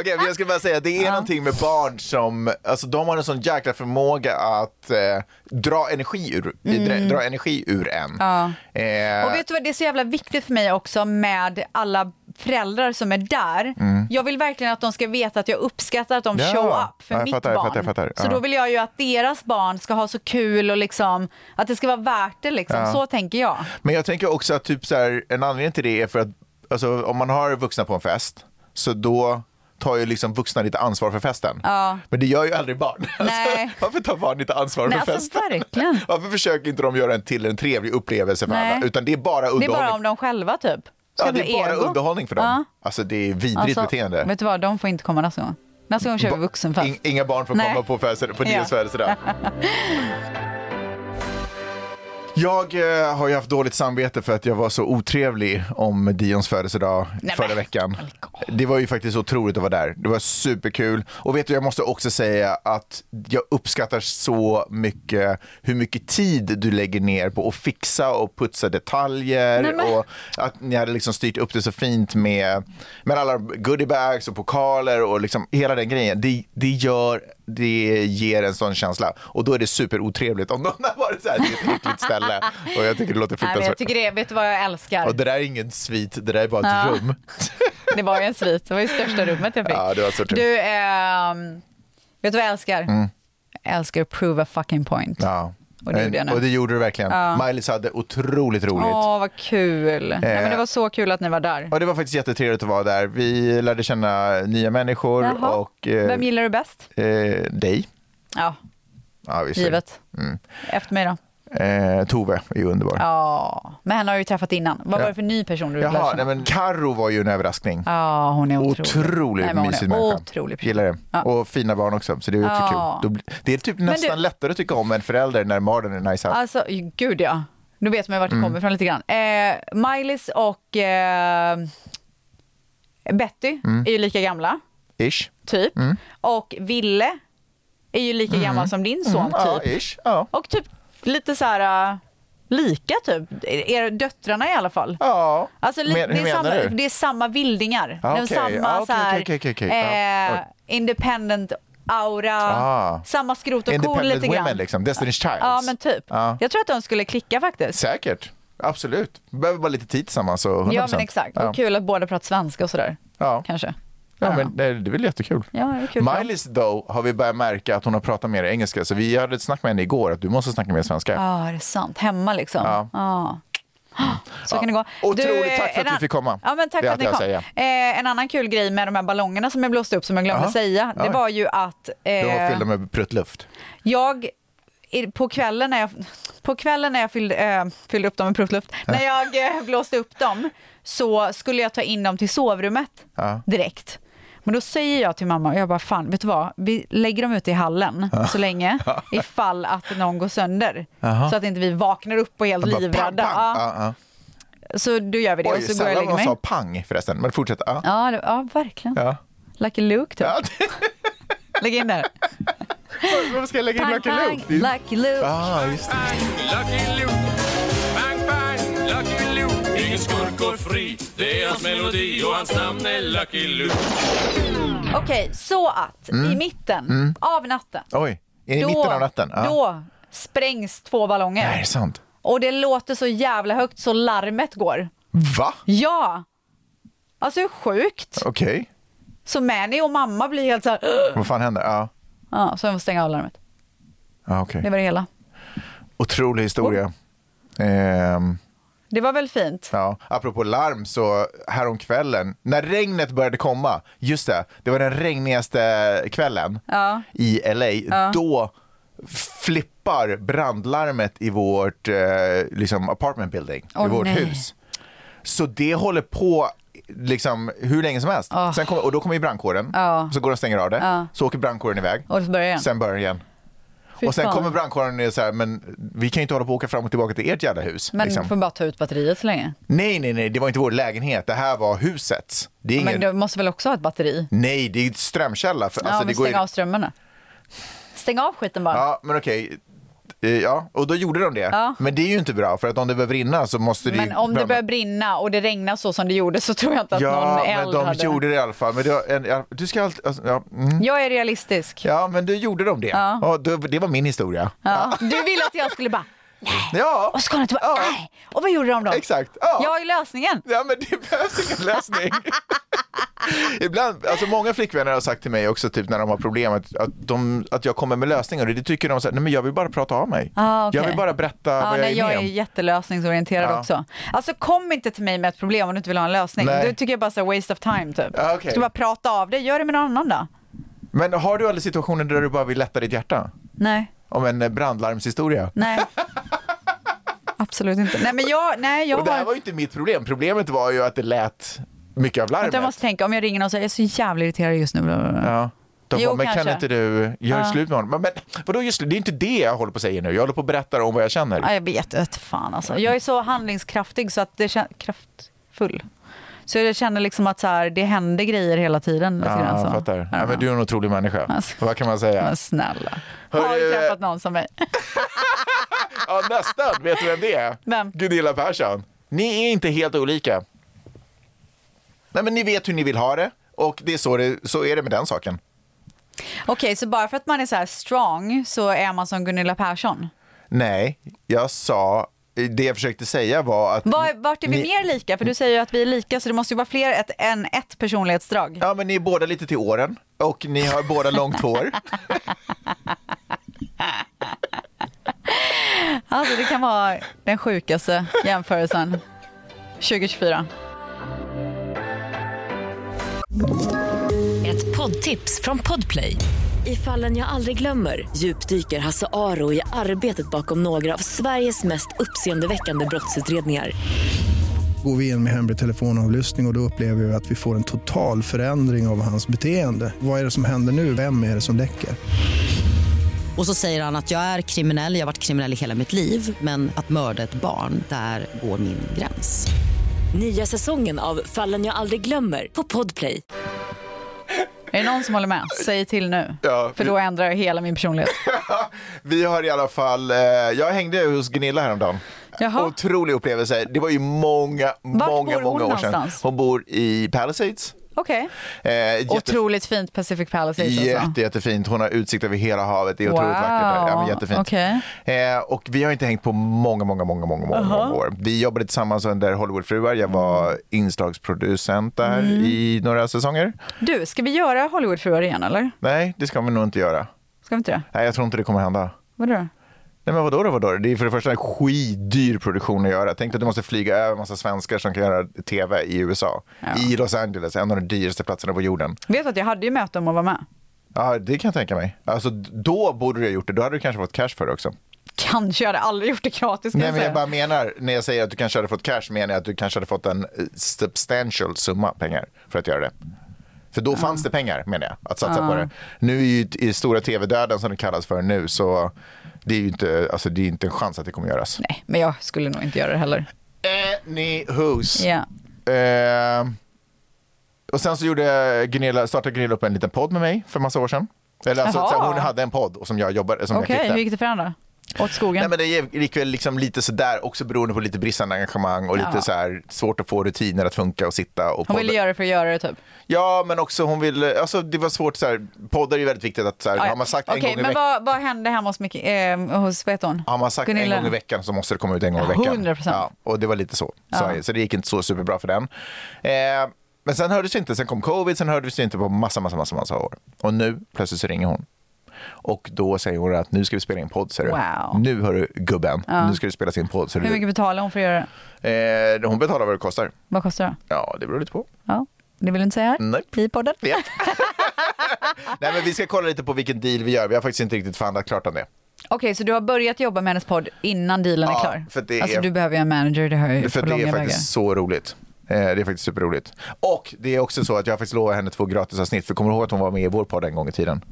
Speaker 1: Okej, men jag ska bara säga, det är någonting med barn som, alltså de har en sån jäkla förmåga att eh, dra, energi ur, dra, dra energi ur en. Eh,
Speaker 2: Mm. Och vet du vad, det är så jävla viktigt för mig också med alla föräldrar som är där. Jag vill verkligen att de ska veta att jag uppskattar att de
Speaker 1: Mm. Ja.
Speaker 2: show up för
Speaker 1: Ja, jag
Speaker 2: mitt
Speaker 1: fattar, jag
Speaker 2: barn.
Speaker 1: fattar, jag fattar.
Speaker 2: Så
Speaker 1: Ja.
Speaker 2: då vill jag ju att deras barn ska ha så kul och liksom, att det ska vara värt det liksom. Så tänker jag.
Speaker 1: Men jag tänker också att typ så här, en anledning till det är för att alltså, om man har vuxna på en fest så då tar ju liksom vuxna lite ansvar för festen. Men det gör ju aldrig barn. Alltså,
Speaker 2: Nej.
Speaker 1: varför tar barn inte ansvar
Speaker 2: Nej,
Speaker 1: för
Speaker 2: alltså,
Speaker 1: festen?
Speaker 2: verkligen.
Speaker 1: Varför försöker inte de göra en till en trevlig upplevelse för
Speaker 2: Nej.
Speaker 1: alla? Utan det är bara
Speaker 2: Det
Speaker 1: underhållning.
Speaker 2: är bara om de själva typ.
Speaker 1: ja,
Speaker 2: Jävla
Speaker 1: det är bara
Speaker 2: ego.
Speaker 1: underhållning för dem.
Speaker 2: Ja.
Speaker 1: Alltså det är vidrigt beteende.
Speaker 2: Vet du vad, de får inte komma nästa gång. Nästa gång kör vi
Speaker 1: Ba-
Speaker 2: vuxenfest.
Speaker 1: In, inga barn får
Speaker 2: Nej.
Speaker 1: komma på, födelse- på
Speaker 2: Ja.
Speaker 1: Nias födelsedag. Jag eh, har ju haft dåligt samvete för att jag var så otrevlig om Dions födelsedag
Speaker 2: men-
Speaker 1: förra veckan. Det var ju faktiskt otroligt att vara där. Det var superkul. Och vet du, jag måste också säga att jag uppskattar så mycket hur mycket tid du lägger ner på att fixa och putsa detaljer.
Speaker 2: Nej, men-
Speaker 1: och att ni hade liksom styrt upp det så fint med, med alla goodiebags och pokaler och liksom hela den grejen. Det, det, gör, det ger en sån känsla. Och då är det superotrevligt om någon har varit så här, det är ett äckligt ställe. Och jag tycker det låter
Speaker 2: Nej, men jag
Speaker 1: fruktansvärt.
Speaker 2: tycker det, vet du vad jag älskar?
Speaker 1: Och det där är ingen svit, det där är bara ett
Speaker 2: Ja.
Speaker 1: rum.
Speaker 2: Det var ju en svit. Det var ju största rummet jag fick.
Speaker 1: Ja, det var så tur.
Speaker 2: Du, ehm, vet du vad jag älskar? Jag älskar att prove a fucking point.
Speaker 1: Ja. Eh,
Speaker 2: Och det gjorde jag nu.
Speaker 1: Och det gjorde du verkligen. Maj-Lis hade otroligt roligt. Eh.
Speaker 2: Åh, vad kul. Nej, men det var så kul att ni var där.
Speaker 1: Och det var faktiskt jättetrevligt att vara där. Vi lärde känna nya människor
Speaker 2: Jaha.
Speaker 1: och eh,
Speaker 2: Vem gillar du bäst?
Speaker 1: eh, dig.
Speaker 2: Ja,
Speaker 1: Ja, visst.
Speaker 2: givet.
Speaker 1: Mm.
Speaker 2: Efter mig då?
Speaker 1: Eh, Tove är ju underbar.
Speaker 2: Ja, men henne har du ju träffat innan. Vad
Speaker 1: Ja.
Speaker 2: var det för ny person du lärde
Speaker 1: Jaha, nej,
Speaker 2: känna?
Speaker 1: men Karo var ju en överraskning.
Speaker 2: Ja, hon är otrolig.
Speaker 1: Otroligt
Speaker 2: Nej, men hon är
Speaker 1: mysig människa.
Speaker 2: Otrolig person.
Speaker 1: Gillar det.
Speaker 2: Ja.
Speaker 1: Och fina barn också, så det är också
Speaker 2: Ja.
Speaker 1: kul. Då bli- Det är typ nästan
Speaker 2: du-
Speaker 1: lättare att tycka om en förälder när barnen är nice.
Speaker 2: Alltså, gud ja. Nu vet man ju vart det
Speaker 1: Mm.
Speaker 2: kommer ifrån lite grann. Eh, Miley's och eh, Betty
Speaker 1: Mm.
Speaker 2: är ju lika gamla,
Speaker 1: Ish.
Speaker 2: typ.
Speaker 1: Mm.
Speaker 2: Och Ville är ju lika gammal som din son,
Speaker 1: Ja,
Speaker 2: typ.
Speaker 1: ish. Mm. Ja.
Speaker 2: Och typ lite så här eh, lika, typ. Er, döttrarna i alla fall.
Speaker 1: ja.
Speaker 2: Alltså, li-
Speaker 1: Men- hur
Speaker 2: det, är
Speaker 1: menar
Speaker 2: samma,
Speaker 1: du?
Speaker 2: det är samma vildingar.
Speaker 1: Ah,
Speaker 2: det är
Speaker 1: okej.
Speaker 2: samma
Speaker 1: Ah, okej,
Speaker 2: så här,
Speaker 1: okej, okej, okej.
Speaker 2: Eh,
Speaker 1: Ja,
Speaker 2: independent aura,
Speaker 1: Ah.
Speaker 2: samma skrot och korn
Speaker 1: Independent
Speaker 2: lite grann.
Speaker 1: women, liksom. Ah. Destiny's Child.
Speaker 2: Ja, men typ.
Speaker 1: Ja.
Speaker 2: Jag tror att de skulle klicka faktiskt.
Speaker 1: Säkert. Absolut. Behöver bara lite tid tillsammans. Så 100%.
Speaker 2: Ja, men exakt.
Speaker 1: Ja.
Speaker 2: Och kul att båda pratar svenska och sådär.
Speaker 1: Ja.
Speaker 2: Kanske.
Speaker 1: Ja, men det, det är väl jättekul.
Speaker 2: Ja, det är kul för
Speaker 1: Miley's though har vi börjat märka att hon har pratat mer engelska. Så vi hade ett snack med henne igår att du måste snacka mer svenska.
Speaker 2: Ja, det är sant. Hemma liksom.
Speaker 1: Ja.
Speaker 2: Ja. Så kan det gå.
Speaker 1: Otroligt.
Speaker 2: eh,
Speaker 1: Tack för att
Speaker 2: en
Speaker 1: vi
Speaker 2: an-
Speaker 1: fick komma.
Speaker 2: Ja, men tack
Speaker 1: Det
Speaker 2: för
Speaker 1: hade
Speaker 2: att ni
Speaker 1: jag
Speaker 2: kom.
Speaker 1: att säga.
Speaker 2: Eh, en annan kul grej med de här ballongerna som jag blåste upp som jag glömde
Speaker 1: Jaha.
Speaker 2: säga, det
Speaker 1: Oj.
Speaker 2: var ju att
Speaker 1: Du har
Speaker 2: eh,
Speaker 1: fyllt med pruttluft.
Speaker 2: jag i- på kvällen när jag, på kvällen när jag fyllde, eh, fyllde upp dem med pruttluft, när jag eh, blåste upp dem så skulle jag ta in dem till sovrummet
Speaker 1: Ja.
Speaker 2: direkt. Men då säger jag till mamma, och jag bara fan, vet du vad, vi lägger dem ute i hallen så länge ifall att någon går sönder. Så att inte vi vaknar upp och är helt
Speaker 1: Bara
Speaker 2: livrädda.
Speaker 1: pang, pang.
Speaker 2: Ja,
Speaker 1: Ja, ja.
Speaker 2: så då gör vi det
Speaker 1: Oj,
Speaker 2: och så går jag och
Speaker 1: sällan
Speaker 2: lägger
Speaker 1: man
Speaker 2: mig.
Speaker 1: sa pang förresten. Men fortsätt. Ja.
Speaker 2: Ja, det, ja, verkligen.
Speaker 1: Ja.
Speaker 2: Lucky Luke typ.
Speaker 1: Ja.
Speaker 2: Lägg in där.
Speaker 1: Varför ska jag lägga in
Speaker 2: Pang,
Speaker 1: Lucky Luke?
Speaker 2: pang,
Speaker 1: Det är-
Speaker 2: Lucky Luke.
Speaker 1: Ah, just det.
Speaker 7: Lucky Luke. Bang, bang, Lucky Luke. Ingen skurk går fri. Det är hans melodi och hans namn är Lucky Luke.
Speaker 2: Okej, så att i
Speaker 1: Mm.
Speaker 2: mitten av natten,
Speaker 1: Oj, i mitten av natten. Ja.
Speaker 2: då sprängs två ballonger.
Speaker 1: Nej, är det sant?
Speaker 2: Och det låter så jävla högt så larmet går.
Speaker 1: Va?
Speaker 2: Ja! Alltså hur sjukt?
Speaker 1: Okej,
Speaker 2: Så Mani och mamma blir helt så här...
Speaker 1: vad fan händer? Ja.
Speaker 2: Ja, så jag får stänga av larmet.
Speaker 1: Ja, okej.
Speaker 2: Det var det hela.
Speaker 1: Otrolig historia. Ehm,
Speaker 2: Det var väl fint?
Speaker 1: Ja, apropå larm så häromkvällen, när regnet började komma, just det, det var den regnigaste kvällen
Speaker 2: Ja.
Speaker 1: i LA, då flippar brandlarmet i vårt eh, liksom apartment building,
Speaker 2: Åh,
Speaker 1: i vårt
Speaker 2: nej.
Speaker 1: hus. Så det håller på liksom hur länge som helst. Sen kommer, och då kommer ju brandkåren, så går de och stänger av det, så åker brandkåren iväg,
Speaker 2: Och så börjar igen.
Speaker 1: sen börjar det igen.
Speaker 2: Fy
Speaker 1: och sen
Speaker 2: fan.
Speaker 1: kommer brandkåren och det är så här, men vi kan ju inte hålla på och åka fram och tillbaka till ert jävla hus.
Speaker 2: Men
Speaker 1: liksom.
Speaker 2: får bara ta ut batteriet så länge.
Speaker 1: Nej, nej, nej, det var inte vår lägenhet, det här var huset. Det är ingen...
Speaker 2: Men du måste väl också ha ett batteri?
Speaker 1: Nej, det är ett strömkälla. För,
Speaker 2: ja,
Speaker 1: alltså,
Speaker 2: men
Speaker 1: det går
Speaker 2: stäng
Speaker 1: ju-
Speaker 2: av strömmen då. Stäng av skiten bara.
Speaker 1: Ja, alltså, men okej. Eh, Ja, och då gjorde de det.
Speaker 2: Ja.
Speaker 1: Men det är ju inte bra, för att om det börjar brinna så måste det ju
Speaker 2: men om det
Speaker 1: bränna.
Speaker 2: börjar brinna och det regnar så som det gjorde så tror jag inte att
Speaker 1: Ja,
Speaker 2: någon eld
Speaker 1: men de
Speaker 2: hade...
Speaker 1: gjorde det i alla fall. Men det var en, ja, du ska alltid... Alltså, ja, mm.
Speaker 2: Jag är realistisk. Ja.
Speaker 1: ja, men då gjorde de det. Ja. då, det var min historia.
Speaker 2: Du ville att jag skulle bara,
Speaker 1: Ja,
Speaker 2: Äh. och så kom du tillbaka,
Speaker 1: Ja.
Speaker 2: nej. Och vad gjorde de då?
Speaker 1: exakt. Ja.
Speaker 2: Jag är lösningen.
Speaker 1: Ja, men det behövs ingen lösning. Ibland, alltså många flickvänner har sagt till mig också typ när de har problem att, att, de, att jag kommer med lösningar och det tycker de så här, nej men jag vill bara prata av mig.
Speaker 2: Ah, okej.
Speaker 1: Jag vill bara berätta
Speaker 2: Ja,
Speaker 1: vad jag
Speaker 2: nej,
Speaker 1: är
Speaker 2: jag
Speaker 1: med
Speaker 2: är
Speaker 1: om.
Speaker 2: jättelösningsorienterad
Speaker 1: Ja.
Speaker 2: också. Alltså kom inte till mig med ett problem om du inte vill ha en lösning.
Speaker 1: Nej.
Speaker 2: Du tycker jag bara så här, waste of time typ.
Speaker 1: Ja, okej.
Speaker 2: Ska bara prata av dig, gör det med någon annan då.
Speaker 1: Men har du aldrig situationer där du bara vill lätta ditt hjärta?
Speaker 2: Nej,
Speaker 1: Om en eh, brandlarmshistoria?
Speaker 2: nej. Absolut inte. Nej, men jag, nej, jag
Speaker 1: Och det här
Speaker 2: har...
Speaker 1: var ju inte mitt problem. Problemet var ju att det lät mycket av larmet.
Speaker 2: Jag måste tänka, om jag ringer någon och säger jag är så jävla irriterad just nu. bla, bla, bla.
Speaker 1: Ja. De
Speaker 2: Jo,
Speaker 1: bara, men kan
Speaker 2: kanske.
Speaker 1: inte du göra
Speaker 2: Ja.
Speaker 1: slut med honom? Men, men vadå just slut? Det är inte det jag håller på att säga nu. Jag håller på att berätta om vad jag känner.
Speaker 2: Ja, jag vet inte fan alltså. Jag är så handlingskraftig så att det känns kraftfull. Så jag känner liksom att så här, det händer grejer hela tiden. lite
Speaker 1: Ja,
Speaker 2: grann, så.
Speaker 1: jag fattar.
Speaker 2: I don't
Speaker 1: Ja, men
Speaker 2: know.
Speaker 1: du är en otrolig människa.
Speaker 2: Alltså.
Speaker 1: Vad kan man säga?
Speaker 2: Men snälla.
Speaker 1: Hörru,
Speaker 2: Har du träffat någon som mig?
Speaker 1: Ja, nästan. Vet du vem det är?
Speaker 2: Vem?
Speaker 1: Gunilla Persson. Ni är inte helt olika. Nej, men ni vet hur ni vill ha det och det är så, det, så är det med den saken.
Speaker 2: Okej, så bara för att man är så här strong så är man som Gunilla Persson?
Speaker 1: Nej, jag sa... Det jag försökte säga var att...
Speaker 2: Var, vart är vi
Speaker 1: ni,
Speaker 2: mer lika? För du säger ju att vi är lika så det måste ju vara fler ett, än ett personlighetsdrag.
Speaker 1: Ja, men ni är båda lite till åren och ni har båda långt hår.
Speaker 2: Alltså det kan vara den sjukaste jämförelsen 2024.
Speaker 10: Ett poddtips från Podplay. I fallen jag aldrig glömmer djupdyker Hasse Aro i arbetet bakom några av Sveriges mest uppseendeväckande brottsutredningar.
Speaker 11: Går vi in med hemlig telefonavlyssning och, och då upplever vi att vi får en total förändring av hans beteende. Vad är det som händer nu? Vem är det som läcker?
Speaker 12: Och så säger han att jag är kriminell, jag har varit kriminell i hela mitt liv men att mörda ett barn, där går min gräns.
Speaker 10: Nya säsongen av Fallen jag aldrig glömmer på Podplay.
Speaker 2: Är det någon som håller med? Säg till nu.
Speaker 1: Ja,
Speaker 2: För då ändrar jag hela min personlighet.
Speaker 1: Vi har i alla fall... Eh, jag hängde hos Gunilla häromdagen.
Speaker 2: Jaha.
Speaker 1: Otrolig upplevelse. Det var ju många, många,
Speaker 2: bor hon
Speaker 1: många år sedan.
Speaker 2: någonstans?
Speaker 1: Hon bor i Palisades.
Speaker 2: Okej.
Speaker 1: Eh, jätte-
Speaker 2: Otroligt fint Pacific Palisades
Speaker 1: Jätte,
Speaker 2: alltså.
Speaker 1: jättefint. Hon har utsikt över hela havet. Det är otroligt
Speaker 2: Wow.
Speaker 1: vackert där. Ja, men jättefint.
Speaker 2: Okej.
Speaker 1: Eh, och vi har inte hängt på många, många, många, många, många, många år. Vi jobbade tillsammans under Hollywoodfruar. Jag
Speaker 2: Mm.
Speaker 1: var inslagsproducent där i några säsonger.
Speaker 2: Du, ska vi göra Hollywoodfruar igen eller?
Speaker 1: Nej, det ska vi nog inte göra.
Speaker 2: Ska vi inte det?
Speaker 1: Nej, jag tror inte det kommer hända.
Speaker 2: Vadå då?
Speaker 1: Nej men vadå då, vadå? då? Det är för det första en skitdyr produktion att göra. Tänk dig att du måste flyga över en massa svenskar som kan göra tv i USA. I Los Angeles, en av de dyraste platserna på jorden.
Speaker 2: Vet du att jag hade ju möte om att vara med?
Speaker 1: Ja, det kan jag tänka mig. Alltså, då borde du ha gjort det. Då hade du kanske fått cash för det också.
Speaker 2: Kanske, jag hade aldrig gjort det gratis kan
Speaker 1: Nej,
Speaker 2: jag
Speaker 1: men
Speaker 2: säga.
Speaker 1: jag bara menar, när jag säger att du kanske hade fått cash, menar jag att du kanske hade fått en eh, substantial summa pengar för att göra det. För då fanns det pengar, menar jag, att satsa på det. Nu är ju t- i stora tv-döden, som det kallas för nu, så det är ju inte, alltså, det är ju inte en chans att det kommer göras.
Speaker 2: Nej, men jag skulle nog inte göra det heller.
Speaker 1: Anywhos.
Speaker 2: Ja.
Speaker 1: Eh, och sen så gjorde Gunilla, startade Gunilla upp en liten podd med mig för massa år sedan. Eller alltså,
Speaker 2: Jaha.
Speaker 1: så här, hon hade en podd och som jag jobbade, som
Speaker 2: Okej,
Speaker 1: jag klippte.
Speaker 2: hur gick det för andra? Åt skogen?
Speaker 1: Nej, men det gick väl liksom lite sådär, också beroende på lite bristande engagemang och lite
Speaker 2: Ja.
Speaker 1: så här svårt att få rutiner att funka och sitta. Och
Speaker 2: Hon ville
Speaker 1: podda.
Speaker 2: göra det för att göra det typ.
Speaker 1: Ja, men också hon ville, alltså det var svårt så här, poddar är ju väldigt viktigt att så här,
Speaker 2: Ah, ja.
Speaker 1: har man sagt en
Speaker 2: Okej,
Speaker 1: gång i
Speaker 2: men
Speaker 1: veckan
Speaker 2: vad, vad hände hemma hos, Micke, eh, hos vad heter hon?
Speaker 1: har man sagt
Speaker 2: Gunilla?
Speaker 1: en gång i veckan så måste det komma ut en gång i veckan.
Speaker 2: 100%.
Speaker 1: Ja, och det var lite så. sa jag. Så det gick inte så superbra för den. Eh, men sen hördes vi inte. Sen kom covid, sen hördes vi inte på massa, massa, massa, massa år. Och nu plötsligt så ringer hon. Och då säger hon att nu ska vi spela in podd, ser du.
Speaker 2: Wow.
Speaker 1: Nu hör du gubben, nu ska det spelas in podd. Ser
Speaker 2: Hur
Speaker 1: du.
Speaker 2: mycket betalar hon för att göra det?
Speaker 1: Eh, hon betalar vad det kostar.
Speaker 2: Vad kostar det?
Speaker 1: Ja, det beror lite på.
Speaker 2: Ja, det vill du inte säga här
Speaker 1: Nej.
Speaker 2: i podden.
Speaker 1: Ja. Nej, men vi ska kolla lite på vilken deal vi gör. Vi har faktiskt inte riktigt förhandlat klart om det.
Speaker 2: Okej, så du har börjat jobba med hennes podd innan dealen
Speaker 1: Ja,
Speaker 2: är klar?
Speaker 1: för det
Speaker 2: alltså
Speaker 1: är-
Speaker 2: du behöver ju en manager, det hör jag ju
Speaker 1: För
Speaker 2: på
Speaker 1: det är
Speaker 2: långa
Speaker 1: faktiskt
Speaker 2: vägar.
Speaker 1: så roligt. Eh, Det är faktiskt superroligt. Och det är också så att jag har faktiskt lovat henne två gratisavsnitt. För kommer du ihåg att hon var med i vår podd en gång i tiden?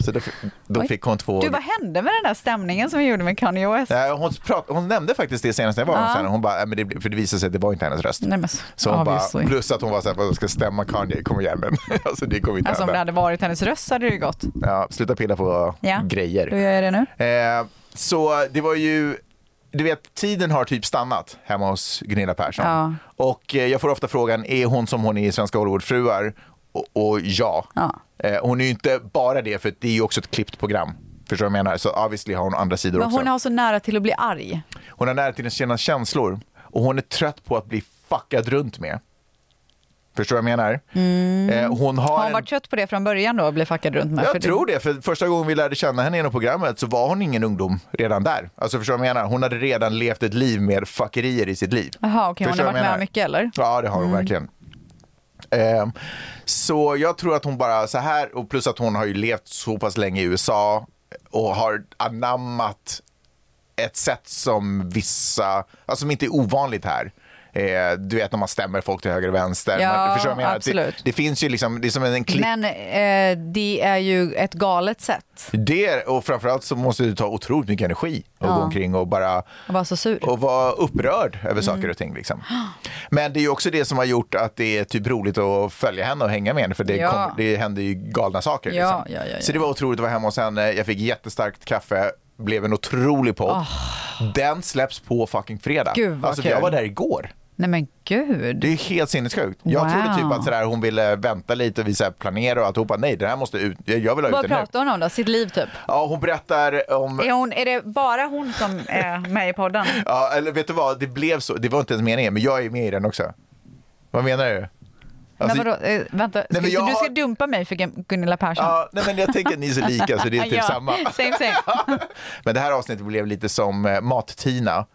Speaker 1: Så då, då
Speaker 2: Oj.
Speaker 1: fick hon två...
Speaker 2: Du, vad hände med den där stämningen som vi gjorde med Kanye West?
Speaker 1: Nej, hon, prat, hon nämnde faktiskt det senast när jag var
Speaker 2: Ja.
Speaker 1: hos henne. Hon bara, "Nej, men det, för det visade sig att det var inte hennes röst.
Speaker 2: Nej, men,
Speaker 1: Så hon bara,
Speaker 2: obviously.
Speaker 1: plus att hon var så här, "Vad ska stämma Kanye, kom igen men. alltså det kommer inte
Speaker 2: Alltså om det
Speaker 1: hända.
Speaker 2: hade varit hennes röst hade det ju gått.
Speaker 1: Ja, sluta pilla på
Speaker 2: Ja,
Speaker 1: grejer.
Speaker 2: Då gör jag det nu.
Speaker 1: Eh, så det var ju, du vet tiden har typ stannat hemma hos Gunilla Persson.
Speaker 2: Ja.
Speaker 1: Och eh, jag får ofta frågan, är hon som hon är i Svenska Hollywoodfruar? Och, och ja. Eh, hon är ju inte bara det, för det är ju också ett klippt program. Förstår du vad jag menar? Så obviously har hon andra sidor
Speaker 2: Men
Speaker 1: också.
Speaker 2: hon har så nära till att bli arg.
Speaker 1: Hon har nära till sina känslor och hon är trött på att bli fuckad runt med. Förstår du vad jag menar? Eh, hon har,
Speaker 2: Har Mm. hon
Speaker 1: en...
Speaker 2: varit trött på det från början då och blir fuckad runt med?
Speaker 1: Jag
Speaker 2: För
Speaker 1: tror det, för första gången vi lärde känna henne genom programmet så var hon ingen ungdom redan där. Alltså förstår du vad jag menar? Hon hade redan levt ett liv med fuckerier i sitt liv.
Speaker 2: Jaha, okej. Hon
Speaker 1: Förstår
Speaker 2: har
Speaker 1: du vad jag
Speaker 2: varit med
Speaker 1: menar?
Speaker 2: om mycket eller? Mm.
Speaker 1: Ja, det har hon verkligen. Ehm, så jag tror att hon bara så här, och plus att hon har ju levt så pass länge i USA och har anammat ett sätt som vissa, alltså som inte är ovanligt här. Eh, du vet när man stämmer folk till höger och vänster.
Speaker 2: Ja,
Speaker 1: man, förstår du vad jag menar?
Speaker 2: absolut.
Speaker 1: Det, det finns ju liksom, det är som en klick.
Speaker 2: Men eh, det är ju ett galet sätt
Speaker 1: Det, och framförallt så måste du ta otroligt mycket energi och
Speaker 2: Ja.
Speaker 1: gå omkring och bara
Speaker 2: att vara så sur.
Speaker 1: och vara upprörd över saker
Speaker 2: Mm.
Speaker 1: och ting. Liksom. Men det är ju också det som har gjort att det är typ roligt att följa henne och hänga med henne för det,
Speaker 2: Ja.
Speaker 1: kom, det händer ju galna saker.
Speaker 2: Ja,
Speaker 1: liksom.
Speaker 2: ja, ja, ja.
Speaker 1: Så det var otroligt att vara hemma hos henne. Jag fick jättestarkt kaffe, blev en otrolig podd. Den släpps på fucking fredag.
Speaker 2: Ah. Gud, vad
Speaker 1: alltså,
Speaker 2: kul.
Speaker 1: jag var där igår.
Speaker 2: Nej men gud.
Speaker 1: Det är helt sinnessjukt. Jag
Speaker 2: Wow.
Speaker 1: trodde typ att sådär, hon ville vänta lite och vi såhär planerar och alltihopa. Nej, det här måste ut. Jag vill ha ut
Speaker 2: Vad
Speaker 1: den nu.
Speaker 2: pratar hon om då? Sitt liv typ?
Speaker 1: Ja, hon berättar om
Speaker 2: Är, hon, är det bara hon som är med i podden?
Speaker 1: Ja, eller vet du vad, det blev så. Det var inte ens meningen, men jag är med i den också. Vad menar du? Alltså,
Speaker 2: nej, vadå, eh, vänta, ska,
Speaker 1: men jag
Speaker 2: så du ska
Speaker 1: har-
Speaker 2: dumpa mig för Gun- Gunilla Persson? Ah,
Speaker 1: Ja, nej, men jag tänker att ni är så lika, så det är typ
Speaker 2: Ja,
Speaker 1: samma.
Speaker 2: Same, Eh, same.
Speaker 1: Men det här avsnittet blev lite som eh, Mat-Tina.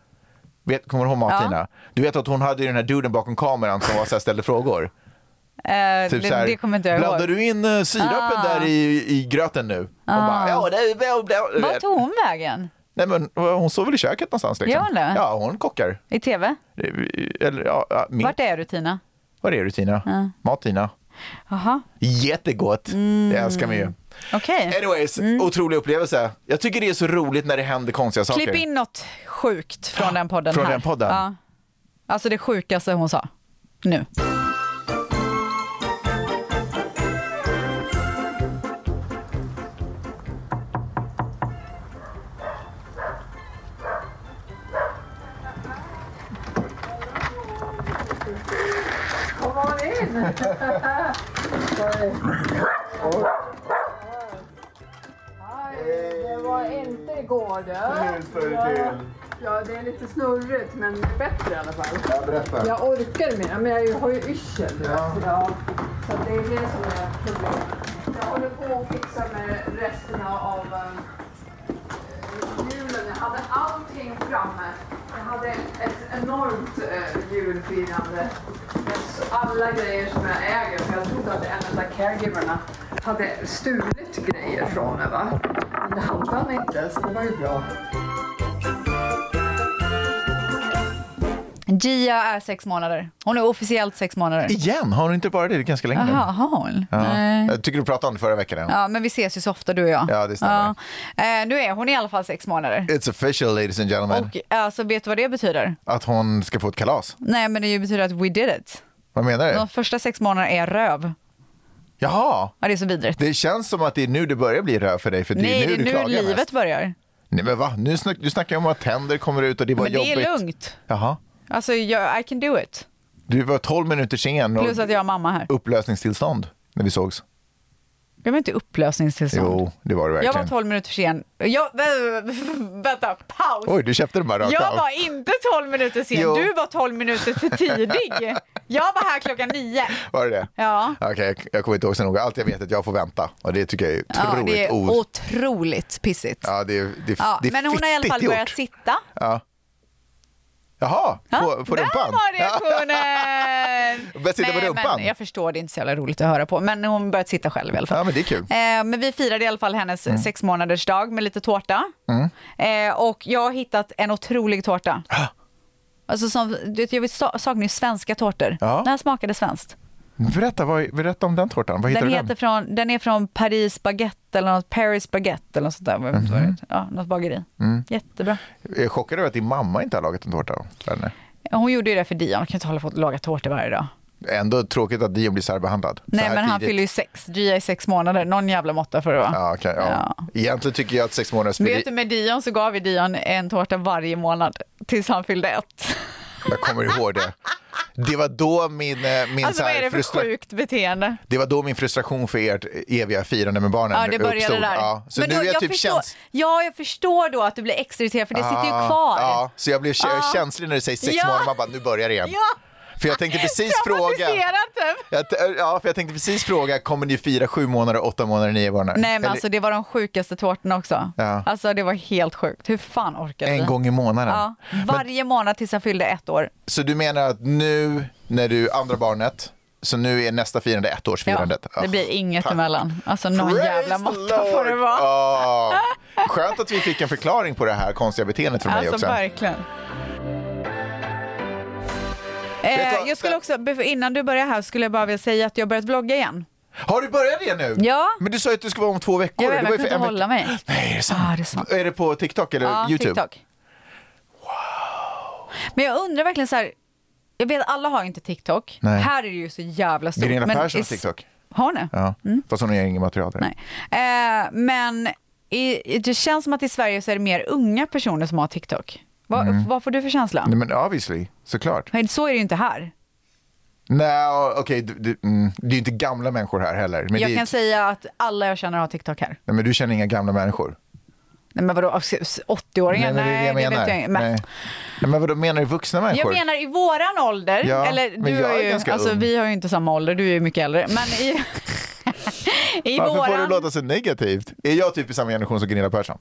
Speaker 1: Vet, kommer du ihåg Mat-Tina? Du vet att hon hade ju den här duden bakom kameran som var så här, ställde frågor. Typ
Speaker 2: Eh, det,
Speaker 1: så här,
Speaker 2: det kommer inte jag
Speaker 1: Blandar
Speaker 2: ihåg.
Speaker 1: du in eh, sirapen
Speaker 2: Ah.
Speaker 1: där i, i gröten nu? Hon
Speaker 2: Ah.
Speaker 1: bara, ja, det är... väl- det är-"
Speaker 2: Var tog hon vägen?
Speaker 1: Nej, men eh, hon står väl i köket någonstans liksom.
Speaker 2: Gör hon det?
Speaker 1: Ja, hon kockar. Eh,
Speaker 2: I tv?
Speaker 1: Eller, ja, ja, min...
Speaker 2: Vart Ah. är du Tina?
Speaker 1: Var är du Tina?
Speaker 2: Ja.
Speaker 1: Mat-Tina.
Speaker 2: Jaha,
Speaker 1: Jättegott. Det
Speaker 2: Mm.
Speaker 1: älskar man ju.
Speaker 2: okej.
Speaker 1: Anyways,
Speaker 2: Mm.
Speaker 1: otrolig upplevelse. Jag tycker det är så roligt när det händer konstiga saker.
Speaker 2: Klipp in något sjukt från den podden
Speaker 1: Från
Speaker 2: här.
Speaker 1: den podden?
Speaker 2: Ja. Alltså det sjukaste hon sa. Nu.
Speaker 13: Det var inte igår du.
Speaker 14: Nu står det till.
Speaker 13: Ja, det är lite snurrigt men bättre i alla fall.
Speaker 14: Ja, berätta.
Speaker 13: Jag orkar mer, men jag har ju yrsel. du vet. Ja. Så det är det som är problemet. Jag håller på och fixar med resterna av um, eh, julen. Jag hade allting framme. Jag hade ett enormt eh, julfirande. Med s- Alla grejer som jag äger, för jag trodde att en av de där caregiverna hade stulit grejer från mig. Va? Men det hade han inte, så det var ju bra.
Speaker 2: Gia är sex månader. Hon är officiellt sex månader.
Speaker 1: Igen? Har hon inte varit det? Det är ganska länge nu.
Speaker 2: Jaha, har hon?
Speaker 1: Ja.
Speaker 2: Nej.
Speaker 1: Jag tycker du pratade om det förra veckan.
Speaker 2: Ja, men vi ses ju så ofta du och jag.
Speaker 1: Ja, det stämmer.
Speaker 2: Ja. Eh, nu är hon i alla fall sex månader.
Speaker 1: It's official ladies and gentlemen.
Speaker 2: Och alltså, vet du vad det betyder?
Speaker 1: Att hon ska få ett kalas.
Speaker 2: Nej, men det ju betyder att we did it.
Speaker 1: Vad menar du?
Speaker 2: De första sex månaderna är röv.
Speaker 1: Jaha.
Speaker 2: Ja, det är så vidrigt.
Speaker 1: Det känns som att det är nu det börjar bli röd för dig. För det
Speaker 2: Nej,
Speaker 1: är nu
Speaker 2: det
Speaker 1: du
Speaker 2: är
Speaker 1: klagar
Speaker 2: nu livet
Speaker 1: mest.
Speaker 2: börjar.
Speaker 1: Nej men va? Nu snack, du snackar ju om att tänder kommer ut och det var
Speaker 2: Men det
Speaker 1: jobbigt.
Speaker 2: är lugnt.
Speaker 1: Jaha.
Speaker 2: Alltså, jag, I can do it.
Speaker 1: Du var 12 minuter sen och
Speaker 2: Plus att jag har mamma här.
Speaker 1: upplösningstillstånd när vi sågs.
Speaker 2: Jag var inte upplösningstillstånd.
Speaker 1: Jo, det var det
Speaker 2: jag
Speaker 1: verkligen.
Speaker 2: var 12 minuter sen. Jag, vä- vänta, paus.
Speaker 1: Oj, du köpte den bara rakt
Speaker 2: jag
Speaker 1: av.
Speaker 2: var inte 12 minuter sen.
Speaker 1: Jo.
Speaker 2: Du var 12 minuter för tidig. jag var här klockan nio.
Speaker 1: Var det det?
Speaker 2: Ja.
Speaker 1: Okej, jag- jag kommer inte ihåg så noga. Allt jag vet är att jag får vänta. Och det tycker jag är
Speaker 2: Ja,
Speaker 1: otroligt
Speaker 2: det är
Speaker 1: o-
Speaker 2: otroligt pissigt.
Speaker 1: Ja, det är, det är,
Speaker 2: Ja,
Speaker 1: det är
Speaker 2: men hon har i alla
Speaker 1: fittigt
Speaker 2: fall börjat
Speaker 1: gjort.
Speaker 2: sitta.
Speaker 1: Ja. Jaha, på, på
Speaker 2: Där
Speaker 1: rumpan?
Speaker 2: var reaktionen!
Speaker 1: Börjat sitta på
Speaker 2: Nej,
Speaker 1: rumpan?
Speaker 2: Men jag förstår, det är inte så jävla roligt att höra på. Men hon har börjat sitta själv i alla fall.
Speaker 1: Ja, men det är kul.
Speaker 2: Eh, men vi firade i alla fall hennes mm. sex månaders dag med lite tårta.
Speaker 1: Mm.
Speaker 2: Eh, och jag har hittat en otrolig tårta. Alltså som, du vet, jag vill sa- saknar ju svenska tårtor.
Speaker 1: Ja.
Speaker 2: Den här smakade svenskt.
Speaker 1: Berätta, vad, berätta om den tårtan. Vad hittar
Speaker 2: Den,
Speaker 1: du
Speaker 2: heter
Speaker 1: den?
Speaker 2: från, den är från Paris Baguette eller något Paris Baguette eller något sånt där. vad jag vet vad det
Speaker 1: Mhm.
Speaker 2: heter. Ja, något bageri.
Speaker 1: Mm.
Speaker 2: Jättebra.
Speaker 1: Jag är chockad över att din mamma inte har lagat en tårta av henne.
Speaker 2: Ja, Hon gjorde ju det för Dion, hon kan inte hålla på att laga tårtor varje dag.
Speaker 1: Ändå tråkigt att Dion blir särbehandlad. Så
Speaker 2: Nej
Speaker 1: här
Speaker 2: men han
Speaker 1: tidigt.
Speaker 2: fyller ju sex, Gia är sex månader, någon jävla måtta får det vara.
Speaker 1: Ja, okej, ja. Egentligen tycker jag att sex månaders
Speaker 2: Vet du med Dion så gav vi Dion en tårta varje månad tills han fyllde ett.
Speaker 1: Jag kommer ihåg det. Det var då min, eh, min
Speaker 2: alltså
Speaker 1: så
Speaker 2: vad
Speaker 1: här
Speaker 2: är det för
Speaker 1: frustra-
Speaker 2: sjukt beteende?
Speaker 1: Det var då min frustration för ert eviga firande med barnen
Speaker 2: Ja, det började
Speaker 1: uppstod.
Speaker 2: där.
Speaker 1: Ja. Så
Speaker 2: Men
Speaker 1: nu
Speaker 2: då,
Speaker 1: är jag, typ
Speaker 2: förstår,
Speaker 1: käns-
Speaker 2: ja, jag förstår då att du blir extra irriterad för det sitter ju
Speaker 1: Ah,
Speaker 2: kvar.
Speaker 1: Ja, så jag blev kä-
Speaker 2: Ah.
Speaker 1: känslig när du säger sex
Speaker 2: Ja.
Speaker 1: månader. Man bara, nu börjar det igen.
Speaker 2: Ja.
Speaker 1: För jag tänkte precis fråga.
Speaker 2: Traumatiserad, typ.
Speaker 1: Jag, t- eh, ja, för jag tänkte precis fråga, kommer ni fira sju månader, åtta månader, nio månader?
Speaker 2: Nej men
Speaker 1: Eller-
Speaker 2: alltså det var de sjukaste tårtorna också.
Speaker 1: Ja.
Speaker 2: Alltså det var helt sjukt. Hur fan orkade
Speaker 1: En
Speaker 2: vi?
Speaker 1: gång i månaden.
Speaker 2: Ja, varje månad tills han fyllde ett år.
Speaker 1: Så du menar att nu när du andra barnet, så nu är nästa firande ettårsfirandet?
Speaker 2: Det blir inget
Speaker 1: tack.
Speaker 2: emellan. Alltså
Speaker 1: Ah.
Speaker 2: någon jävla måtta får det vara.
Speaker 1: vara. Ah. Skönt att vi fick en förklaring på det här konstiga beteendet från mig
Speaker 2: Alltså
Speaker 1: också.
Speaker 2: verkligen.
Speaker 1: Vet du
Speaker 2: Eh,
Speaker 1: vad?
Speaker 2: jag skulle också, bef- innan du börjar här skulle jag bara vilja säga att jag har börjat vlogga igen.
Speaker 1: Har du börjat det nu?
Speaker 2: Ja.
Speaker 1: Men du sa ju att du skulle vara om två veckor.
Speaker 2: Jag vet,
Speaker 1: Det
Speaker 2: men
Speaker 1: var ju
Speaker 2: jag
Speaker 1: för
Speaker 2: kan inte
Speaker 1: en
Speaker 2: hålla
Speaker 1: vecka-
Speaker 2: mig. Ah,
Speaker 1: Nej, är det sant?
Speaker 2: det är, sant.
Speaker 1: är det på TikTok eller
Speaker 2: Ja,
Speaker 1: Eh, YouTube?
Speaker 2: TikTok. Men jag undrar verkligen så här, jag vet alla har ju inte TikTok.
Speaker 1: Nej.
Speaker 2: Här är det ju så jävla stort.
Speaker 1: Gunilla
Speaker 2: men
Speaker 1: Persson har
Speaker 2: i s-
Speaker 1: TikTok.
Speaker 2: Har ni?
Speaker 1: Ja. Fast hon har inget material där. Nej.
Speaker 2: Eh, men i, det känns som att i Sverige så är det mer unga personer som har TikTok. Vad,
Speaker 1: Mm.
Speaker 2: vad får du för känsla?
Speaker 1: Men obviously, såklart.
Speaker 2: Men Så är det ju inte här.
Speaker 1: Nej, okej, du- du- mm, det är ju inte gamla människor här heller. Men,
Speaker 2: jag
Speaker 1: det, är-
Speaker 2: kan säga att alla jag känner har TikTok här.
Speaker 1: Nej, men du känner inga gamla människor?
Speaker 2: Nej men vadå, 80-åringar?
Speaker 1: men
Speaker 2: Nej,
Speaker 1: jag
Speaker 2: vet jag
Speaker 1: menar.
Speaker 2: inte. Men-
Speaker 1: Nej. Nej, men vadå, menar du vuxna människor?
Speaker 2: Jag menar i våran ålder,
Speaker 1: Ja,
Speaker 2: eller
Speaker 1: men
Speaker 2: du
Speaker 1: jag
Speaker 2: har
Speaker 1: är
Speaker 2: ju,
Speaker 1: ganska
Speaker 2: alltså
Speaker 1: ung.
Speaker 2: vi har ju inte samma ålder, du är ju mycket äldre. Men i, i
Speaker 1: Varför får du
Speaker 2: våran...
Speaker 1: låta så negativt? Är jag typ i samma generation som Gunilla Persson?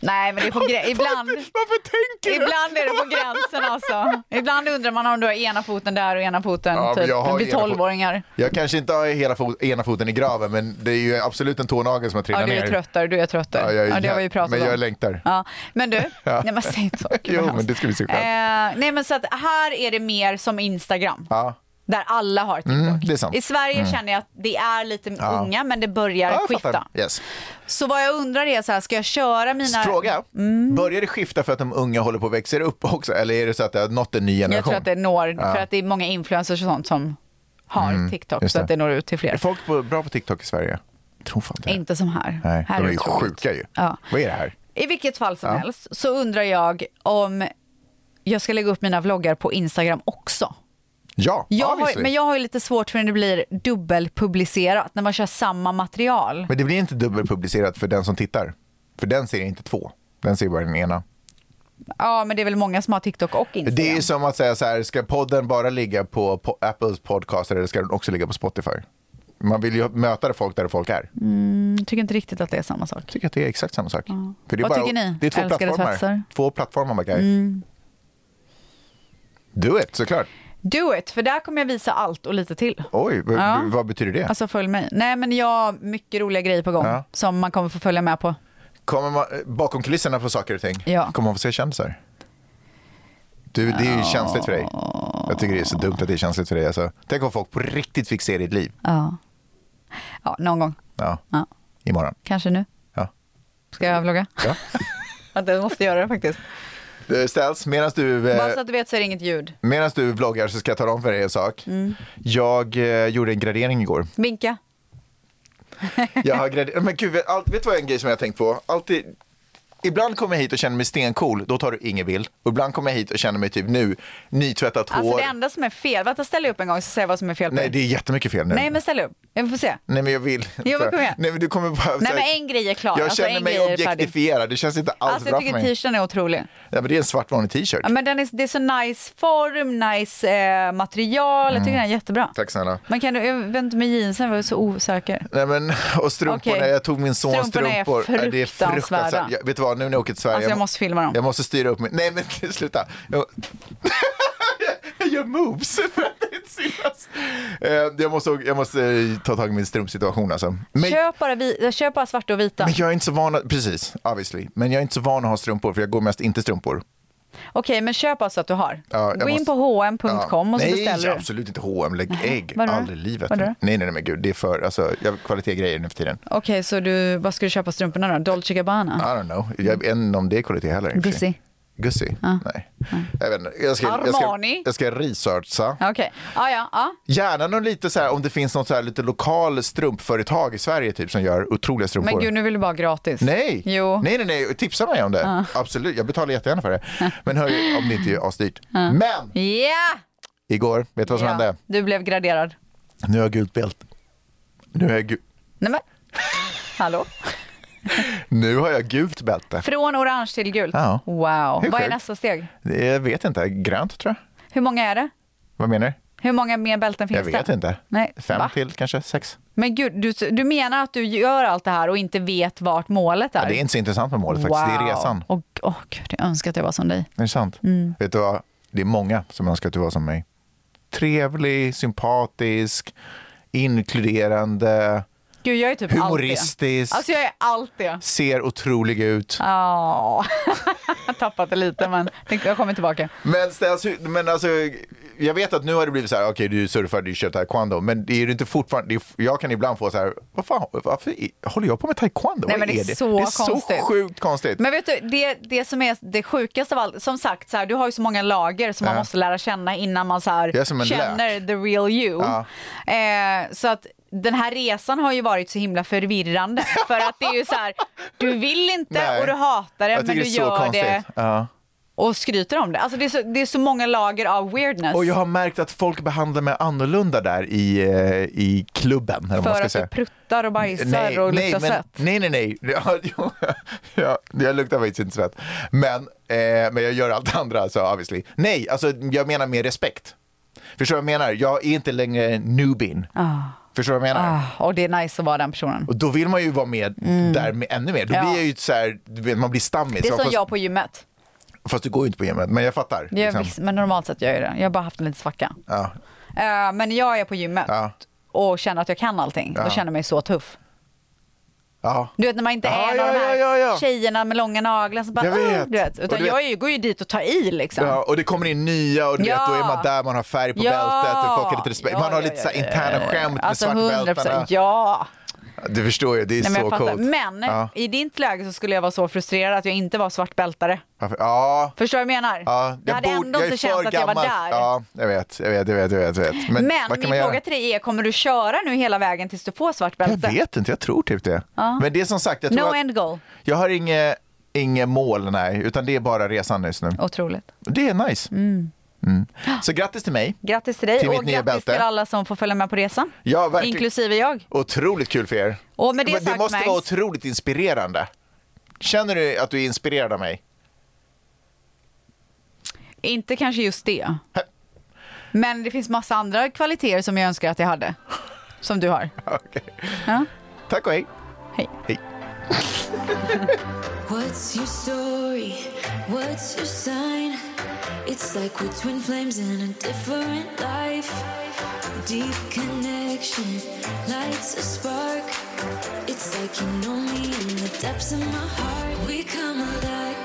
Speaker 2: Nej men det är på grä... ibland... Varför,
Speaker 1: tänker
Speaker 2: du? Ibland är det på gränsen alltså. Ibland undrar man om du har ena foten där och ena foten
Speaker 1: Ja, men
Speaker 2: typ.
Speaker 1: jag har
Speaker 2: vid
Speaker 1: ena fot-
Speaker 2: 12-åringar.
Speaker 1: Jag kanske inte har hela fot, ena foten i graven, men det är ju absolut en tånagel som har
Speaker 2: Ja,
Speaker 1: trillat
Speaker 2: du
Speaker 1: ner.
Speaker 2: är tröttare, du är tröttare.
Speaker 1: Ja, jag är
Speaker 2: Ja, det har vi ju pratat
Speaker 1: men jag
Speaker 2: om.
Speaker 1: längtar.
Speaker 2: Ja, men du,
Speaker 1: Ja.
Speaker 2: nej men säg inte så. Gud, vad
Speaker 1: Jo,
Speaker 2: hemskt.
Speaker 1: men det skulle bli så skönt.
Speaker 2: Eh, nej men så att här är det mer som Instagram.
Speaker 1: Ja.
Speaker 2: Där alla har TikTok.
Speaker 1: Mm, det är sant.
Speaker 2: I Sverige
Speaker 1: Mm.
Speaker 2: känner jag att det är lite
Speaker 1: Ja.
Speaker 2: unga men det börjar
Speaker 1: Ja, jag
Speaker 2: skifta.
Speaker 1: fattar. Yes.
Speaker 2: Så vad jag undrar är så här, ska jag köra mina...
Speaker 1: Fråga,
Speaker 2: Mm.
Speaker 1: börjar det skifta för att de unga håller på att växa upp också eller är det så att det har nått en ny generation?
Speaker 2: Jag tror att det når,
Speaker 1: Ja.
Speaker 2: för att det är många influencers och sånt som har
Speaker 1: Mm,
Speaker 2: TikTok
Speaker 1: just
Speaker 2: så att det når ut till fler.
Speaker 1: Är folk på, bra på TikTok i Sverige? Jag tror fan det.
Speaker 2: Inte som här.
Speaker 1: Nej,
Speaker 2: här
Speaker 1: de är
Speaker 2: det
Speaker 1: ju
Speaker 2: otroligt.
Speaker 1: sjuka ju.
Speaker 2: Ja.
Speaker 1: Vad är det här?
Speaker 2: I vilket fall som
Speaker 1: Ja.
Speaker 2: helst så undrar jag om jag ska lägga upp mina vloggar på Instagram också.
Speaker 1: Ja,
Speaker 2: Jag har,
Speaker 1: obviously.
Speaker 2: men jag har ju lite svårt för när det blir dubbelpublicerat, när man kör samma material.
Speaker 1: Men det blir inte dubbelpublicerat för den som tittar. För den ser inte två, den ser bara den ena.
Speaker 2: Ja, men det är väl många som har TikTok och Instagram.
Speaker 1: Det är som att säga så här, ska podden bara ligga på po- Apples podcaster eller ska den också ligga på Spotify? Man vill ju möta folk där folk är.
Speaker 2: Mm, jag tycker inte riktigt att det är samma sak.
Speaker 1: Jag tycker att det är exakt samma sak. För det är
Speaker 2: Vad
Speaker 1: bara,
Speaker 2: tycker ni,
Speaker 1: Det är två
Speaker 2: älskade
Speaker 1: plattformar.
Speaker 2: svetsar?
Speaker 1: Två plattformar, my guy.
Speaker 2: Mm.
Speaker 1: Do it, såklart.
Speaker 2: Do it, för där kommer jag visa allt och lite till.
Speaker 1: Oj, v-
Speaker 2: Ja.
Speaker 1: v- vad betyder det?
Speaker 2: Alltså följ mig. Nej men jag har mycket roliga grejer på gång
Speaker 1: Ja.
Speaker 2: som man kommer få följa med på.
Speaker 1: Kommer man eh, bakom kulisserna på saker och ting?
Speaker 2: Ja.
Speaker 1: Kommer man få se kändisar? Du, det är ju känsligt för dig. Jag tycker det är så dumt att det är känsligt för dig. Alltså. Tänk om folk på riktigt fick se ditt liv.
Speaker 2: Ja. ja, någon gång.
Speaker 1: Ja.
Speaker 2: Ja.
Speaker 1: Imorgon.
Speaker 2: Kanske nu.
Speaker 1: Ja.
Speaker 2: Ska jag vlogga?
Speaker 1: Ja.
Speaker 2: Att jag måste göra det faktiskt.
Speaker 1: Det Eh, ställs, medan du, eh,
Speaker 2: Bara så att du vet så är det inget ljud.
Speaker 1: medans du vloggar så ska jag tala om för dig en sak.
Speaker 2: Mm.
Speaker 1: Jag eh, gjorde en gradering igår.
Speaker 2: Vinka.
Speaker 1: Jag har graderat, men gud, vet- allt, vet du vad en grej som jag har tänkt på? Alltid, ibland kommer jag hit och känner mig stencool, då tar du ingen bild. Och ibland kommer jag hit och känner mig typ nu, nytvättat hår.
Speaker 2: Alltså det enda som är fel, vänta ställ dig upp en gång så säger jag vad som är fel på
Speaker 1: Nej,
Speaker 2: dig.
Speaker 1: det är jättemycket fel nu.
Speaker 2: Nej men ställ upp, jag får se.
Speaker 1: Nej, men jag vill inte.
Speaker 2: Jo, men kom igen.
Speaker 1: Nej men du kommer bara...
Speaker 2: Nej men en grej är klar.
Speaker 1: jag
Speaker 2: alltså,
Speaker 1: känner
Speaker 2: en
Speaker 1: mig
Speaker 2: grej är färdig.
Speaker 1: objektifierad, det känns inte alls
Speaker 2: Alltså
Speaker 1: bra
Speaker 2: jag
Speaker 1: för
Speaker 2: tycker
Speaker 1: mig.
Speaker 2: t-shirten är otrolig.
Speaker 1: Ja, men det är en svart vanlig t-shirt.
Speaker 2: Ja, men den är, det är så nice form, nice eh, material, jag tycker
Speaker 1: Mm.
Speaker 2: den är jättebra.
Speaker 1: Tack snälla.
Speaker 2: Men kan du, jag vet inte med jeansen, var jag så osäker.
Speaker 1: Nej, men, och strumporna,
Speaker 2: Okej.
Speaker 1: jag tog min sons
Speaker 2: Strumporna är
Speaker 1: strumpor. Ja, det är fruktansvärt.
Speaker 2: fruktansvärda.
Speaker 1: Jag, vet du vad, nu när jag åker till Sverige.
Speaker 2: Alltså, jag
Speaker 1: må-
Speaker 2: måste filma dem.
Speaker 1: Jag måste styra upp min... Nej men sluta. Jag, jag gör moves för att inte synas. Eh, jag måste, jag måste eh, ta tag i min strumpsituation alltså. Men,
Speaker 2: Köp, bara vi, köp bara svarta och vita.
Speaker 1: men jag är inte så van att, precis, obviously. Men jag är inte så van att ha strumpor för jag går mest inte strumpor.
Speaker 2: Okej, men köp alltså att du har.
Speaker 1: Ja, jag
Speaker 2: Gå in
Speaker 1: måste-
Speaker 2: på hm.com och så
Speaker 1: nej,
Speaker 2: beställer
Speaker 1: Nej,
Speaker 2: du.
Speaker 1: absolut inte H&M. Lägg ägg.
Speaker 2: vadå?
Speaker 1: Aldrig i livet.
Speaker 2: Vadå?
Speaker 1: Nej, nej, nej, men gud. Det är för, alltså, jag, kvalitet är grejer nu för tiden.
Speaker 2: Okej, så du, vad ska du köpa strumporna då? Dolce Gabbana?
Speaker 1: I don't know. Jag vet inte om det är kvalitet heller. i och för sig.
Speaker 2: Gussi?
Speaker 1: Gussi? Nej. Jag vet inte. Jag ska, jag ska,
Speaker 2: Armani?
Speaker 1: jag ska researcha.
Speaker 2: Okej, ah, ja, ja.
Speaker 1: Gärna någon lite så här, om det finns något så här lite lokal strumpföretag i Sverige typ som gör otroliga strumpor.
Speaker 2: Men gud, nu vill du bara ha gratis.
Speaker 1: Nej.
Speaker 2: Jo.
Speaker 1: nej, nej, nej, tipsa mig om det.
Speaker 2: Ja.
Speaker 1: Absolut, jag betalar jättegärna för det. Men hörru, om det inte är asdyrt.
Speaker 2: Ja.
Speaker 1: Men
Speaker 2: Ja!
Speaker 1: igår, vet du vad som
Speaker 2: Ja,
Speaker 1: hände?
Speaker 2: Du blev graderad.
Speaker 1: Nu har jag gult bälte. Nu har jag, gu-
Speaker 2: Nej men, hallå?
Speaker 1: nu har jag gult bälte.
Speaker 2: Från orange till gult?
Speaker 1: Ja.
Speaker 2: Wow.
Speaker 1: Hur
Speaker 2: Vad är
Speaker 1: sjukt?
Speaker 2: nästa steg?
Speaker 1: Jag vet inte, grönt tror jag.
Speaker 2: Hur många är det?
Speaker 1: Vad menar du?
Speaker 2: Hur många mer bälten finns
Speaker 1: Jag vet
Speaker 2: det?
Speaker 1: inte.
Speaker 2: Nej.
Speaker 1: Fem
Speaker 2: Va?
Speaker 1: till kanske, sex.
Speaker 2: Men gud, du, du menar att du gör allt det här och inte vet vart målet är?
Speaker 1: Ja, det är inte så intressant med målet faktiskt, det är resan.
Speaker 2: Åh åh, gud, jag önskar att jag var som dig.
Speaker 1: Är det sant?
Speaker 2: Mm.
Speaker 1: Vet du vad? Det är många som önskar att du var som mig. Trevlig, sympatisk, inkluderande,
Speaker 2: Gud, jag är typ
Speaker 1: Humoristisk.
Speaker 2: allt det. Alltså jag är allt det.
Speaker 1: ser otrolig ut.
Speaker 2: Ja, jag har tappat det lite men jag kommer tillbaka.
Speaker 1: Men, alltså, men alltså, jag vet att nu har det blivit så här, okej du surfar, du kör taekwondo, men det är ju inte fortfarande, det är, jag kan ibland få så här, vad fan, varför i- håller jag på med taekwondo?
Speaker 2: Nej,
Speaker 1: vad
Speaker 2: men det är
Speaker 1: det?
Speaker 2: så
Speaker 1: det är
Speaker 2: konstigt.
Speaker 1: så sjukt konstigt.
Speaker 2: Men vet du, det, det som är det sjukaste av allt, som sagt, så här, du har ju så många lager som man
Speaker 1: Ja.
Speaker 2: måste lära känna innan man så
Speaker 1: Jag är som
Speaker 2: här,
Speaker 1: en
Speaker 2: känner the real you. Eh, så att den här resan har ju varit så himla förvirrande. För att det är ju så här, du vill inte
Speaker 1: Nej.
Speaker 2: och du hatar det,
Speaker 1: jag
Speaker 2: men
Speaker 1: tycker
Speaker 2: du
Speaker 1: det är så
Speaker 2: gör
Speaker 1: konstigt.
Speaker 2: det
Speaker 1: Ja.
Speaker 2: och skryter om det. Alltså det är så, det är så många lager av weirdness.
Speaker 1: Och jag har märkt att folk behandlar mig annorlunda där i, eh, i klubben. Eller vad man
Speaker 2: för
Speaker 1: ska
Speaker 2: att
Speaker 1: säga.
Speaker 2: du pruttar och bajsar och
Speaker 1: nej,
Speaker 2: luktar
Speaker 1: men-
Speaker 2: svett.
Speaker 1: Nej, nej, nej. Ja, jo, ja, jag luktar faktiskt inte svett. Men, eh, men jag gör allt det andra, så obviously. Nej, alltså jag menar med respekt. Förstår du vad jag menar? Jag är inte längre newbin.
Speaker 2: Ah,
Speaker 1: Förstår du vad jag menar?
Speaker 2: ah, och det är nice att vara den personen.
Speaker 1: Och då vill man ju vara med där med, ännu mer. Då
Speaker 2: Ja.
Speaker 1: blir jag ju så här, du vet, man blir stammis.
Speaker 2: Det är som
Speaker 1: fast,
Speaker 2: jag på gymmet.
Speaker 1: fast du går ju inte på gymmet, men jag fattar.
Speaker 2: Jag,
Speaker 1: liksom.
Speaker 2: visst, men normalt sett gör jag det. Jag har bara haft en liten svacka.
Speaker 1: Ja.
Speaker 2: Eh, men jag är på gymmet och känner att jag kan allting
Speaker 1: Ja.
Speaker 2: och känner mig så tuff.
Speaker 1: Ja.
Speaker 2: Du vet när man inte
Speaker 1: Ja,
Speaker 2: är en av
Speaker 1: ja,
Speaker 2: de här
Speaker 1: ja, ja, ja.
Speaker 2: tjejerna med långa naglar som bara...
Speaker 1: Jag vet.
Speaker 2: "Åh", Du vet.
Speaker 1: Och
Speaker 2: Utan
Speaker 1: du vet-
Speaker 2: jag är ju, går ju dit och tar i liksom.
Speaker 1: Ja, och det kommer in nya och du
Speaker 2: Ja.
Speaker 1: vet, då är man där, man har färg på
Speaker 2: Ja.
Speaker 1: bältet och folk har lite respekt. man har lite så här interna skämt
Speaker 2: alltså
Speaker 1: med
Speaker 2: 100
Speaker 1: svartbältarna.
Speaker 2: ja.
Speaker 1: Du förstår ju, det är
Speaker 2: Nej, men
Speaker 1: så
Speaker 2: jag fattar.
Speaker 1: coolt.
Speaker 2: Men
Speaker 1: ja.
Speaker 2: i ditt läge så skulle jag vara så frustrerad att jag inte var svartbältare.
Speaker 1: Varför- ja.
Speaker 2: Förstår du vad jag menar?
Speaker 1: Ja, jag
Speaker 2: jag hade
Speaker 1: borde-
Speaker 2: ändå
Speaker 1: jag är
Speaker 2: inte
Speaker 1: för
Speaker 2: känt att jag var
Speaker 1: gammal.
Speaker 2: där.
Speaker 1: Ja, jag vet, jag vet, jag vet, jag vet. Jag vet.
Speaker 2: Men,
Speaker 1: vad kan
Speaker 2: min
Speaker 1: man göra?
Speaker 2: fråga till dig är, kommer du köra nu hela vägen tills du får svart bälte?
Speaker 1: Jag vet inte, jag tror typ det.
Speaker 2: Ja.
Speaker 1: Men det är som sagt, jag
Speaker 2: No
Speaker 1: tror att,
Speaker 2: end goal.
Speaker 1: jag har inget inge mål, nej, utan det är bara resan just nu.
Speaker 2: Otroligt.
Speaker 1: Det är nice. Mm. Så grattis till mig.
Speaker 2: Grattis till dig
Speaker 1: Till mitt
Speaker 2: och
Speaker 1: nya
Speaker 2: grattis
Speaker 1: bälte.
Speaker 2: till alla som får följa med på resan.
Speaker 1: Ja, verkligen.
Speaker 2: Inklusive jag.
Speaker 1: Otroligt kul för er.
Speaker 2: Och med det
Speaker 1: Men det
Speaker 2: sagt,
Speaker 1: måste
Speaker 2: Max-
Speaker 1: vara otroligt inspirerande. Känner du att du är inspirerad av mig?
Speaker 2: Inte kanske just det. Men det finns massa andra kvaliteter som jag önskar att jag hade. Som du har. Ja.
Speaker 1: Tack och hej.
Speaker 2: Hej.
Speaker 1: hej.
Speaker 3: What's your story? What's your sign? It's like we're twin flames in a different life. Deep connection lights a spark. It's like you know me in the depths of my heart. We come alive.